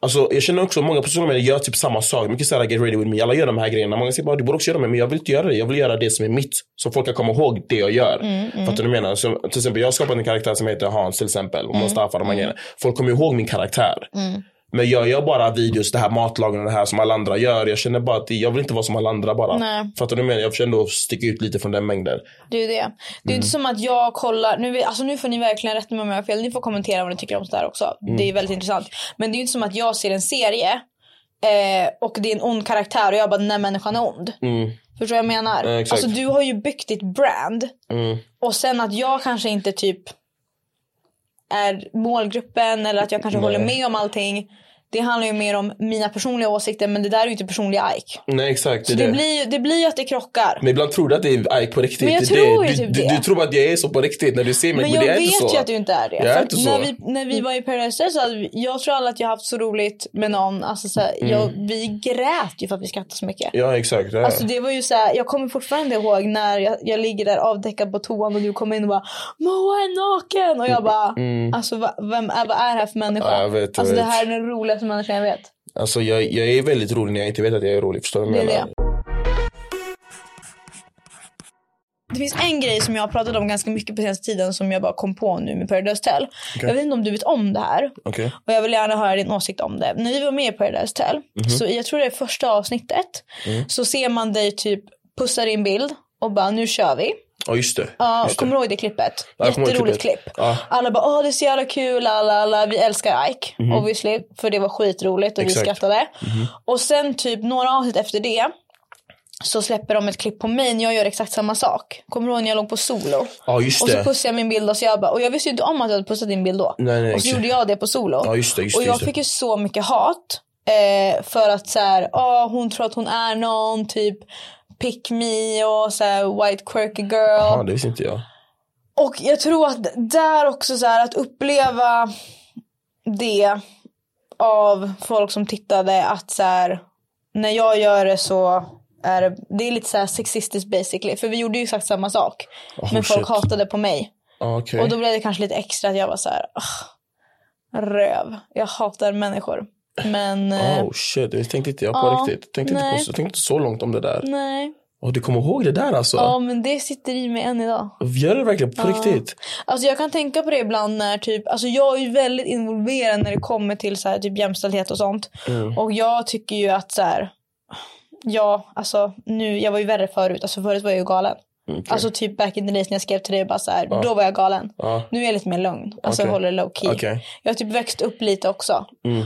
Speaker 2: Alltså, jag känner också att många personer med gör typ samma sak. Mycket såhär get ready with me. Alla gör de här grejerna. Många säger bara du borde också göra det. Men jag vill inte göra det. Jag vill göra det som är mitt. Så folk kan komma ihåg det jag gör.
Speaker 1: Mm,
Speaker 2: Fattar du vad jag menar? Så, till exempel jag har skapat en karaktär som heter Hans till exempel.
Speaker 1: Mm.
Speaker 2: Och Mustafa de här grejerna. Folk kommer ihåg min karaktär. Men jag gör bara videos, det här matlagningen och det här som alla andra gör. Jag känner bara att det- jag vill inte vara som alla andra bara.
Speaker 1: Nej.
Speaker 2: Fattar du vad jag menar? Jag försöker ändå sticka ut lite från den mängden.
Speaker 1: Det är ju det. Det är ju inte som
Speaker 2: Mm.
Speaker 1: att jag kollar, nu, vi- alltså nu får ni verkligen rätta mig om jag
Speaker 2: Mm.
Speaker 1: har fel, ni får kommentera vad ni tycker om sådär också. Det är väldigt intressant. Men det är ju inte som att jag ser en serie eh, och det är en ond karaktär och jag bara den här människan är ond. Förstår du vad jag menar?
Speaker 2: Mm. Ja, exakt. Mm.
Speaker 1: alltså du har ju byggt ditt brand och sen att jag kanske inte typ är målgruppen eller att jag kanske håller med om allting. Det handlar ju mer om mina personliga åsikter men det där är ju inte personliga Ike.
Speaker 2: Nej exakt.
Speaker 1: Så
Speaker 2: är
Speaker 1: det, blir, ju- det blir ju att det krockar.
Speaker 2: Men ibland tror du att det är Ike på riktigt.
Speaker 1: Men jag
Speaker 2: Det är
Speaker 1: tror
Speaker 2: det.
Speaker 1: ju
Speaker 2: du,
Speaker 1: typ
Speaker 2: du,
Speaker 1: det.
Speaker 2: du tror bara att jag är så på riktigt när du ser mig.
Speaker 1: Men
Speaker 2: det
Speaker 1: jag
Speaker 2: är inte
Speaker 1: vet
Speaker 2: så.
Speaker 1: ju att du inte är det.
Speaker 2: Jag är
Speaker 1: För
Speaker 2: inte
Speaker 1: att
Speaker 2: så.
Speaker 1: När, vi, när vi var i Paradise Hotel så hade vi, jag tror alla att jag har haft så roligt med någon. Alltså så här, jag, vi grät ju för att vi skrattade så mycket.
Speaker 2: Mm. Ja exakt. Ja.
Speaker 1: Alltså det var ju så här, jag kommer fortfarande ihåg när jag, jag ligger där avdäckad på toan och du kommer in och bara Moa är naken! Och jag bara, alltså va, vem är, vad är det här för människa?
Speaker 2: Mm. Ja, jag vet, jag
Speaker 1: alltså det
Speaker 2: vet.
Speaker 1: här är den roligaste människan jag vet.
Speaker 2: Alltså jag, jag är väldigt rolig när jag inte vet att jag är rolig. Förstår du vad
Speaker 1: Det
Speaker 2: jag
Speaker 1: är
Speaker 2: menar?
Speaker 1: det. Det finns en grej som jag har pratat om ganska mycket på senaste tiden som jag bara kom på nu med Paradise Hotel. Jag vet inte om du vet om det här.
Speaker 2: Okej.
Speaker 1: Och jag vill gärna höra din åsikt om det. När vi var med i Paradise Hotel,
Speaker 2: Mhm.
Speaker 1: så jag tror det är första avsnittet,
Speaker 2: Mm.
Speaker 1: så ser man dig typ pussa din bild och bara nu kör vi.
Speaker 2: Ja just det.
Speaker 1: Ja,
Speaker 2: just det.
Speaker 1: kommer du ihåg det klippet?
Speaker 2: Ja, jag kommer ihåg
Speaker 1: Jätteroligt
Speaker 2: klippet.
Speaker 1: klipp.
Speaker 2: Ja.
Speaker 1: Alla bara åh det är så jävla kul, alla, alla. vi älskar Ike obviously. För det var skitroligt och vi
Speaker 2: Mhm. Exakt. Mhm.
Speaker 1: skrattade. Och sen typ några avsnitt efter det så släpper de ett klipp på mig när jag gör exakt samma sak. Kommer du ihåg när jag låg på solo?
Speaker 2: Ja, just
Speaker 1: och så
Speaker 2: det.
Speaker 1: pussade jag min bild och så jag bara, och jag visste ju inte om att jag hade pussat din bild då.
Speaker 2: Nej, nej,
Speaker 1: och så
Speaker 2: exakt.
Speaker 1: gjorde jag det på solo.
Speaker 2: Ja, just det, just det,
Speaker 1: och jag
Speaker 2: just det.
Speaker 1: fick ju så mycket hat. Eh, för att så här, "Ah, hon tror att hon är någon, typ pick me och så här, white quirky girl.
Speaker 2: Ja det visste inte jag.
Speaker 1: Och jag tror att där också så här att uppleva det av folk som tittade att så här när jag gör det så är det, det är lite så här sexistiskt basically. För vi gjorde ju exakt samma sak. men folk
Speaker 2: Oh, shit.
Speaker 1: hatade på mig.
Speaker 2: Ja, Okej.
Speaker 1: Och då blev det kanske lite extra att jag var så här "Ugh, röv. Jag hatar människor. Men eh,
Speaker 2: Oh shit, det tänkte inte jag på
Speaker 1: Ja,
Speaker 2: riktigt. Tänkte inte, på,
Speaker 1: nej.
Speaker 2: så- tänkte inte så långt om det där.
Speaker 1: nej.
Speaker 2: Och du kommer ihåg det där alltså?
Speaker 1: Ja men det sitter i mig än idag.
Speaker 2: Gör det verkligen på riktigt?
Speaker 1: Alltså jag kan tänka på det ibland när typ, alltså jag är ju väldigt involverad när det kommer till så här, typ jämställdhet och sånt. Och jag tycker ju att så här, ja alltså nu, jag var ju värre förut, alltså förut var jag ju galen.
Speaker 2: Mm,
Speaker 1: Alltså typ back in the days när jag skrev till dig bara så här, då var jag galen. Nu är jag lite mer lugn, alltså
Speaker 2: Okej.
Speaker 1: jag håller low key.
Speaker 2: Okej. Mm.
Speaker 1: Jag har typ växt upp lite också.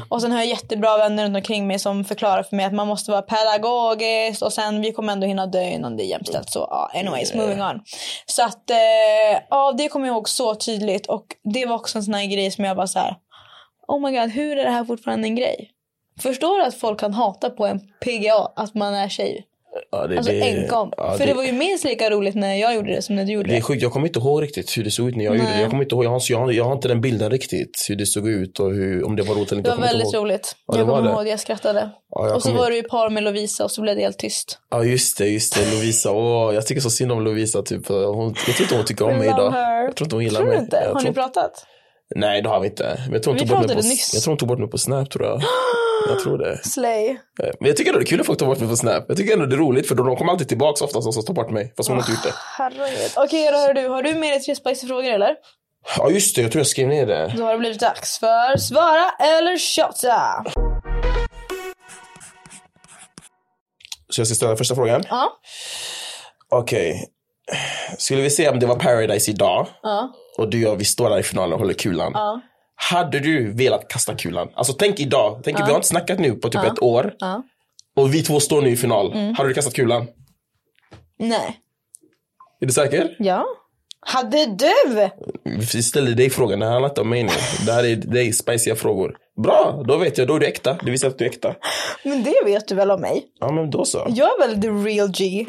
Speaker 1: Och sen har jag jättebra vänner runt omkring mig som förklarar för mig att man måste vara pedagogisk och sen vi kommer ändå hinna dö innan det är jämställt. Så ja, anyways, moving on. Så att eh, ja, det kommer jag ihåg så tydligt och det var också en sån här grej som jag bara så här. Oh my god, hur är det här fortfarande en grej? Förstår du att folk kan hata på en PGA att man är tjej?
Speaker 2: Ja, det,
Speaker 1: Alltså
Speaker 2: det-
Speaker 1: enkom.
Speaker 2: ja,
Speaker 1: För det... var ju minst lika roligt när jag gjorde det som när du gjorde
Speaker 2: Det är
Speaker 1: det.
Speaker 2: sjukt, jag kommer inte ihåg riktigt hur det såg ut när jag gjorde det. Jag, kommer inte ihåg, jag, har, jag, har, jag har inte den bilden riktigt, hur det såg ut och hur, om det var roligt eller
Speaker 1: Det
Speaker 2: inte.
Speaker 1: var
Speaker 2: jag kommer inte
Speaker 1: väldigt
Speaker 2: ihåg.
Speaker 1: roligt.
Speaker 2: Ja, det
Speaker 1: jag
Speaker 2: var
Speaker 1: kommer
Speaker 2: det.
Speaker 1: ihåg, jag skrattade.
Speaker 2: Ja, jag
Speaker 1: och så
Speaker 2: kommer-
Speaker 1: var du i par med Lovisa och så blev det helt tyst.
Speaker 2: Ja just det, just det. Lovisa. Åh, jag tycker så synd om Lovisa. Typ. Hon, jag tror inte hon tycker
Speaker 1: We
Speaker 2: om mig
Speaker 1: love
Speaker 2: idag.
Speaker 1: her.
Speaker 2: Jag tror inte hon gillar
Speaker 1: Tror du
Speaker 2: mig.
Speaker 1: inte?
Speaker 2: Jag
Speaker 1: Har
Speaker 2: tror
Speaker 1: ni
Speaker 2: inte-
Speaker 1: pratat?
Speaker 2: Nej det har vi inte. Men jag tror hon
Speaker 1: Vi
Speaker 2: tog bort mig på,
Speaker 1: pratade nyss.
Speaker 2: jag tror hon tog bort mig på Snap tror jag. Jag tror det. Eh,
Speaker 1: Slay.
Speaker 2: Men jag tycker ändå det är kul att folk tar bort mig på Snap. Jag tycker ändå det är roligt för de kommer alltid tillbaks oftast och så tar bort mig. Fast hon har inte gjort det.
Speaker 1: Herregud. Okej, då hör du. Har du med dig tre spicy frågor eller?
Speaker 2: Ja just det, jag tror jag skrev ner det.
Speaker 1: Då har det blivit dags för svara eller shotta.
Speaker 2: Så jag ska ställa första frågan.
Speaker 1: Ja.
Speaker 2: Okej. Skulle vi se om det var Paradise idag
Speaker 1: Ja.
Speaker 2: och du och jag, vi står där i finalen och håller kulan.
Speaker 1: Ja.
Speaker 2: Hade du velat kasta kulan? Alltså tänk idag, tänk vi har inte snackat nu på typ ett år.
Speaker 1: Ja. Mm.
Speaker 2: Och vi två står nu i final. Hade du kastat kulan?
Speaker 1: Nej.
Speaker 2: Är du säker?
Speaker 1: Ja. Hade du?
Speaker 2: Vi ställer dig frågan, det här handlar inte om mig nu. Det här är dig, spiciga frågor. Bra, då vet jag, då är du äkta. Du visar att du är äkta.
Speaker 1: Men det vet du väl om mig?
Speaker 2: Ja men då så.
Speaker 1: Jag är väl the real G?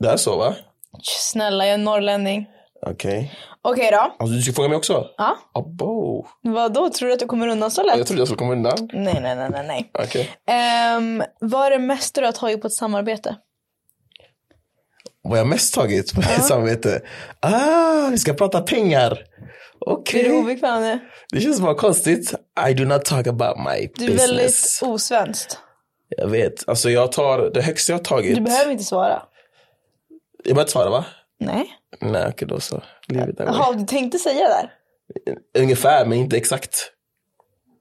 Speaker 2: Det är så va?
Speaker 1: Snälla, jag är norrlänning.
Speaker 2: Okej.
Speaker 1: Okej då.
Speaker 2: Alltså du ska fråga mig också?
Speaker 1: Ja.
Speaker 2: Abo.
Speaker 1: Vad då Tror du att du kommer undan så lätt?
Speaker 2: Jag trodde jag skulle komma undan.
Speaker 1: Nej, nej, nej, nej. nej.
Speaker 2: Okej.
Speaker 1: Ehm, vad är det mesta du har tagit på ett samarbete?
Speaker 2: Vad jag mest tagit på det här samvete? Ah, vi ska prata pengar.
Speaker 1: Är
Speaker 2: Okej.
Speaker 1: du obekväm nu?
Speaker 2: Det känns bara konstigt. I do not talk about my
Speaker 1: Du är
Speaker 2: business.
Speaker 1: väldigt osvenskt.
Speaker 2: Jag vet. Alltså jag tar, det högsta jag har tagit.
Speaker 1: Du behöver inte svara.
Speaker 2: Jag behöver inte svara va?
Speaker 1: Nej.
Speaker 2: Nej okej då så. Leave it that way.
Speaker 1: Jaha, du tänkte säga där.
Speaker 2: Ungefär men inte exakt.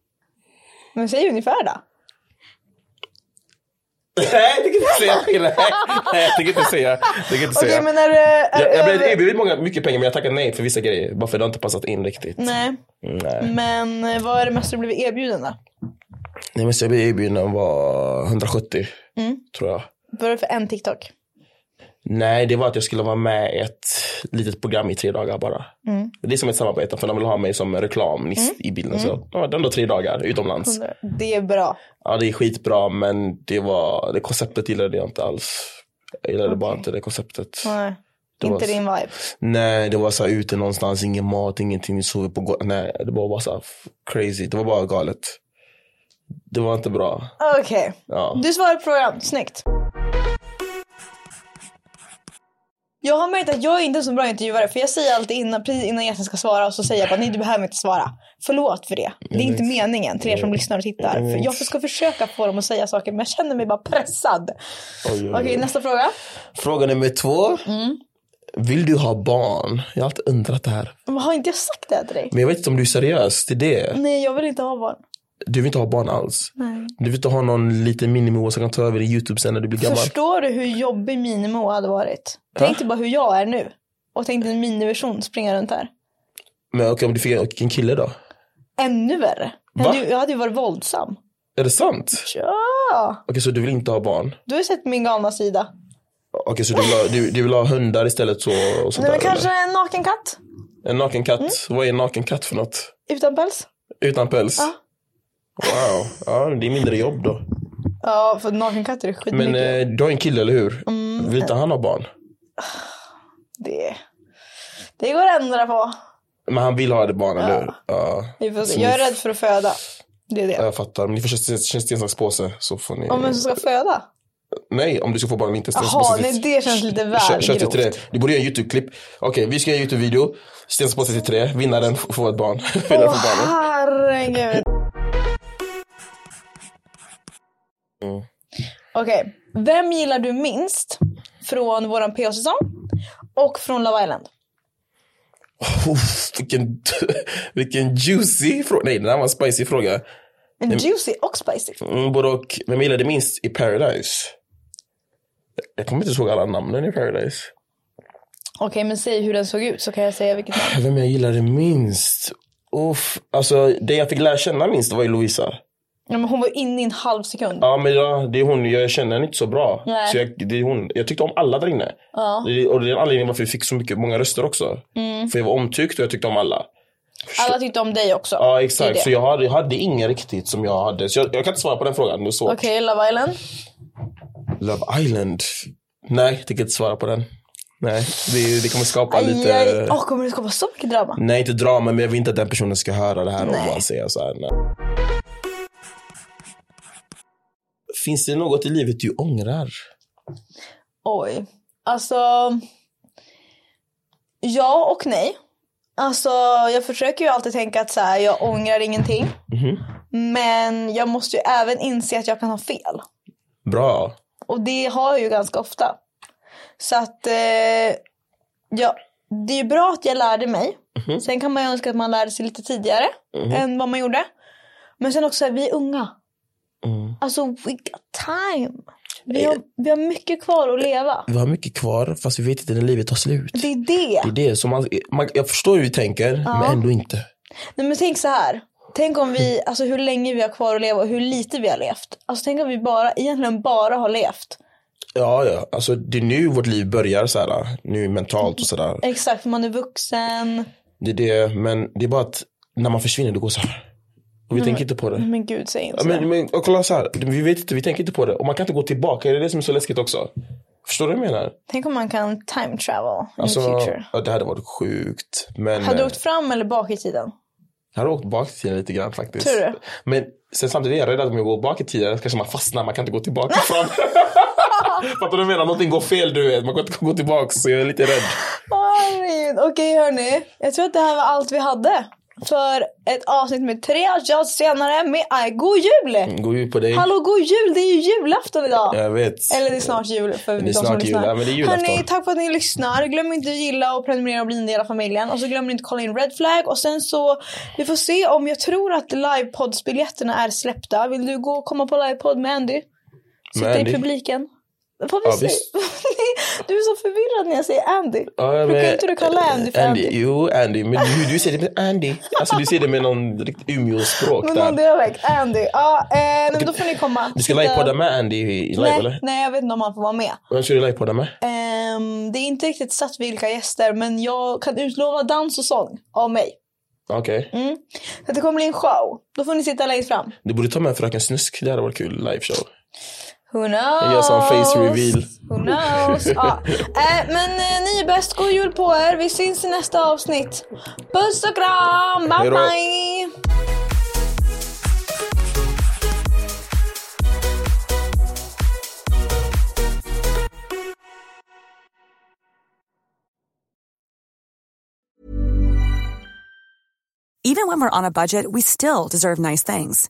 Speaker 1: Men säg ungefär då.
Speaker 2: Nej jag tänker inte säga. Nej, Nej jag tänker inte säga. Jag tänker inte
Speaker 1: Okej,
Speaker 2: säga.
Speaker 1: men Eh, är det... Är
Speaker 2: Jag, jag
Speaker 1: det
Speaker 2: blev
Speaker 1: över-
Speaker 2: erbjuden många- mycket pengar men jag tackade nej för vissa grejer. Bara för det har inte passat in riktigt.
Speaker 1: Nej,
Speaker 2: Nej.
Speaker 1: men eh, vad är det mesta du blivit erbjuden då?
Speaker 2: Nej men så jag blev erbjuden var 170
Speaker 1: Mm.
Speaker 2: tror jag.
Speaker 1: Var det för en TikTok?
Speaker 2: Nej, det var att jag skulle vara med i ett litet program i tre dagar bara. Det är som ett samarbete för de vill ha mig som reklamnist i bilden. Så ja, den då tre dagar utomlands.
Speaker 1: Det är bra.
Speaker 2: Ja, det är skitbra men det var, det konceptet gillade jag inte alls. Jag gillade bara inte det konceptet.
Speaker 1: Nej.
Speaker 2: Det var
Speaker 1: Inte
Speaker 2: så-
Speaker 1: din vibe.
Speaker 2: Nej, det var så här ute någonstans, ingen mat, ingenting, vi sover på golvet. Nej, det var bara så här f- crazy. Det var bara galet. Det var inte bra.
Speaker 1: Okej.
Speaker 2: Ja.
Speaker 1: Du svarade på frågan. Snyggt. Jag har märkt att jag är inte en så bra intervjuare för jag säger alltid innan, precis innan gästen ska svara och så säger jag bara nej du behöver inte svara. Förlåt för det. Det är inte meningen till er som lyssnar och tittar. För jag ska försöka få dem att säga saker men jag känner mig bara pressad.
Speaker 2: oj, oj.
Speaker 1: Okej nästa fråga.
Speaker 2: Fråga nummer två. Vill du ha barn? Jag har alltid undrat det här.
Speaker 1: Men Har inte jag sagt det här till dig?
Speaker 2: Men jag vet inte om du är seriös till det.
Speaker 1: Nej jag vill inte ha barn.
Speaker 2: Du vill inte ha barn alls. Du vill inte ha någon liten minimor som kan ta över din YouTube sen när du blir gammal.
Speaker 1: Förstår du hur jobbig minimo hade varit? Tänk dig bara hur jag är nu. Och tänk dig en miniversion springa runt här.
Speaker 2: Men okej, om du fick och en kille då?
Speaker 1: Ännu värre. Jag
Speaker 2: Va?
Speaker 1: hade, ju, jag hade ju varit våldsam.
Speaker 2: Är det sant?
Speaker 1: Ja!
Speaker 2: Okej, så du vill inte ha barn?
Speaker 1: Du har ju sett min galna sida.
Speaker 2: Okej, så du vill ha, du, du vill ha hundar istället så, och sånt
Speaker 1: Nej, men
Speaker 2: där? eller?
Speaker 1: kanske Mm. en naken katt?
Speaker 2: En naken katt? Vad är en naken katt för något?
Speaker 1: Utan päls?
Speaker 2: Utan päls?
Speaker 1: Ja.
Speaker 2: Wow, ja, det är mindre jobb då.
Speaker 1: Ja, för naken katter är skitmycket.
Speaker 2: Men eh, du har en kille, eller hur?
Speaker 1: Mm.
Speaker 2: Vill inte han ha barn?
Speaker 1: det, det går att ändra på.
Speaker 2: Men han vill ha ett barn, eller hur? Ja.
Speaker 1: Vi får
Speaker 2: Så
Speaker 1: se. Jag är
Speaker 2: ni-
Speaker 1: rädd för att föda. Det är det.
Speaker 2: Jag fattar, men ni får köra sten, sten, sax, påse så får ni...
Speaker 1: Om vem som ska föda?
Speaker 2: Nej, om du ska få barn eller inte. Sten,
Speaker 1: Jaha,
Speaker 2: sax, påse,
Speaker 1: nej, det känns lite väl
Speaker 2: Kör- kör till
Speaker 1: grovt.
Speaker 2: tre. Du borde göra en YouTube-klipp. Okej, vi ska göra en YouTube-video. Sten, sax, påse till tre. Vinnaren f- får ett barn. Vinnaren
Speaker 1: Åh
Speaker 2: får barnet.
Speaker 1: herregud.
Speaker 2: Mm.
Speaker 1: Okej, vem gillar du minst från våran PH-säsong och från Love Island?
Speaker 2: Uff, vilken, vilken juicy fråga. Nej, den här var en spicy fråga.
Speaker 1: En juicy och spicy.
Speaker 2: Mm, både och. Vem gillade minst i Paradise? Jag kommer inte ihåg alla namnen i Paradise.
Speaker 1: Okej, men säg hur den såg ut så kan jag säga vilket namn.
Speaker 2: Vem jag gillade minst? Uff, alltså det jag fick lära känna minst var ju Lovisa.
Speaker 1: Ja, men hon var inne i en halv sekund.
Speaker 2: Ja men ja, det är hon, jag känner henne inte så bra.
Speaker 1: Nej.
Speaker 2: Så jag, det är hon. jag tyckte om alla där inne. Det- Och det är en anledning varför vi fick så mycket, många röster också.
Speaker 1: Mm.
Speaker 2: För jag var omtyckt och jag tyckte om alla.
Speaker 1: Alla tyckte om dig också.
Speaker 2: Ja
Speaker 1: Det är
Speaker 2: exakt,
Speaker 1: det.
Speaker 2: så jag hade, jag hade ingen riktigt som jag hade. Så jag, jag kan inte svara på den frågan, det är svårt.
Speaker 1: Okej, Love Island.
Speaker 2: Love Island? Nej, jag tänker inte svara på den. Nej, det, det kommer skapa
Speaker 1: Aj,
Speaker 2: lite...
Speaker 1: aj. Åh, kommer det skapa så mycket drama?
Speaker 2: Nej, inte drama, men jag vill inte att den personen ska höra det här om
Speaker 1: Nej.
Speaker 2: man säger så här. Nej. Finns det något i livet du ångrar?
Speaker 1: Oj. Alltså... Ja och nej. Alltså jag försöker ju alltid tänka att så här, jag ångrar ingenting.
Speaker 2: Mhm.
Speaker 1: Men jag måste ju även inse att jag kan ha fel.
Speaker 2: Bra.
Speaker 1: Och det har jag ju ganska ofta. Så att eh, ja, det är ju bra att jag lärde mig.
Speaker 2: Mhm.
Speaker 1: Sen kan man ju önska att man lärde sig lite tidigare än vad man gjorde. Men sen också, vi är unga.
Speaker 2: Mm.
Speaker 1: Alltså we got time. Vi har, vi har mycket kvar att leva.
Speaker 2: Vi har mycket kvar, fast vi vet inte när livet tar slut.
Speaker 1: Det är det.
Speaker 2: Det är det som man, man, jag förstår hur vi tänker, men ändå inte.
Speaker 1: Nej, men tänk så här. Tänk om vi, alltså hur länge vi har kvar att leva och hur lite vi har levt. Alltså tänk om vi bara, egentligen bara har levt.
Speaker 2: Ja, ja. Alltså, det är nu vårt liv börjar, så här, nu mentalt och sådär.
Speaker 1: Exakt, för man är vuxen.
Speaker 2: Det är det, men det är bara att när man försvinner, det går så här.
Speaker 1: Mm.
Speaker 2: Och vi tänker inte på det.
Speaker 1: Men gud, säg inte
Speaker 2: Ja,
Speaker 1: så.
Speaker 2: Men, men och kolla så här, vi vet inte, vi tänker inte på det. Och man kan inte gå tillbaka, det är det som är så läskigt också. Förstår du vad jag menar?
Speaker 1: Tänk om man kan time travel in
Speaker 2: Alltså,
Speaker 1: the future.
Speaker 2: ja, det hade varit sjukt. Men,
Speaker 1: Hade du
Speaker 2: eh,
Speaker 1: åkt fram eller bak i tiden?
Speaker 2: jag hade åkt bak i tiden lite grann faktiskt.
Speaker 1: Tror du?
Speaker 2: Men sen samtidigt är jag rädd att om jag går bak i tiden kanske man fastnar, man kan inte gå tillbaka fram. Fattar du vad jag menar? Någonting går fel du vet, man kan inte gå tillbaka så jag är lite rädd.
Speaker 1: Herregud. Okej hörni, jag tror att det här var allt vi hade. För ett avsnitt med tre shots senare med Aj, God Jul!
Speaker 2: Går ju på dig.
Speaker 1: Hallå God Jul, det är ju julafton idag!
Speaker 2: Jag vet.
Speaker 1: Eller det är snart jul för
Speaker 2: är
Speaker 1: de som
Speaker 2: snart jul,
Speaker 1: lyssnar.
Speaker 2: ja, men det är julafton.
Speaker 1: Hörni, tack för att ni lyssnar. Glöm inte att gilla och prenumerera och bli en del av familjen. Och så glöm inte att kolla in Red Flag. Och sen så, vi får se om jag tror att livepodsbiljetterna är släppta. Vill du gå och komma på livepodd med Andy? Sitta
Speaker 2: Med Andy?
Speaker 1: i publiken. Får vi
Speaker 2: Ja,
Speaker 1: se?
Speaker 2: visst.
Speaker 1: du är så förvirrad när jag säger Andy.
Speaker 2: Ja,
Speaker 1: Brukar
Speaker 2: men-
Speaker 1: inte du kalla Andy för Andy?
Speaker 2: Andy. Jo, Andy. Men du, du säger det med Andy. Alltså du säger det med någon riktigt Umeå-språk
Speaker 1: Men någon
Speaker 2: där.
Speaker 1: dialekt, Andy. Ja, eh, nej, men då får ni komma.
Speaker 2: Du ska
Speaker 1: Sitta-
Speaker 2: livepodda med Andy i- live
Speaker 1: Nej,
Speaker 2: eller?
Speaker 1: nej, jag vet inte om han får vara med.
Speaker 2: Vem ska du livepodda med?
Speaker 1: Ehm, det är inte riktigt satt vilka gäster, men jag kan utlova dans och sång av mig.
Speaker 2: Okej.
Speaker 1: Mm. Så att det kommer bli en show. Då får ni sitta längst fram.
Speaker 2: Du borde ta med Fröken Snusk. Det hade varit kul. Liveshow.
Speaker 1: Who knows?
Speaker 2: Jag gör sån face reveal.
Speaker 1: Who knows? ja. eh, men eh, ni är bäst, god jul på er. Vi syns i nästa avsnitt. Puss och kram, bye
Speaker 2: Hej då.
Speaker 1: bye!
Speaker 3: Even when we're on a budget, we still deserve nice things.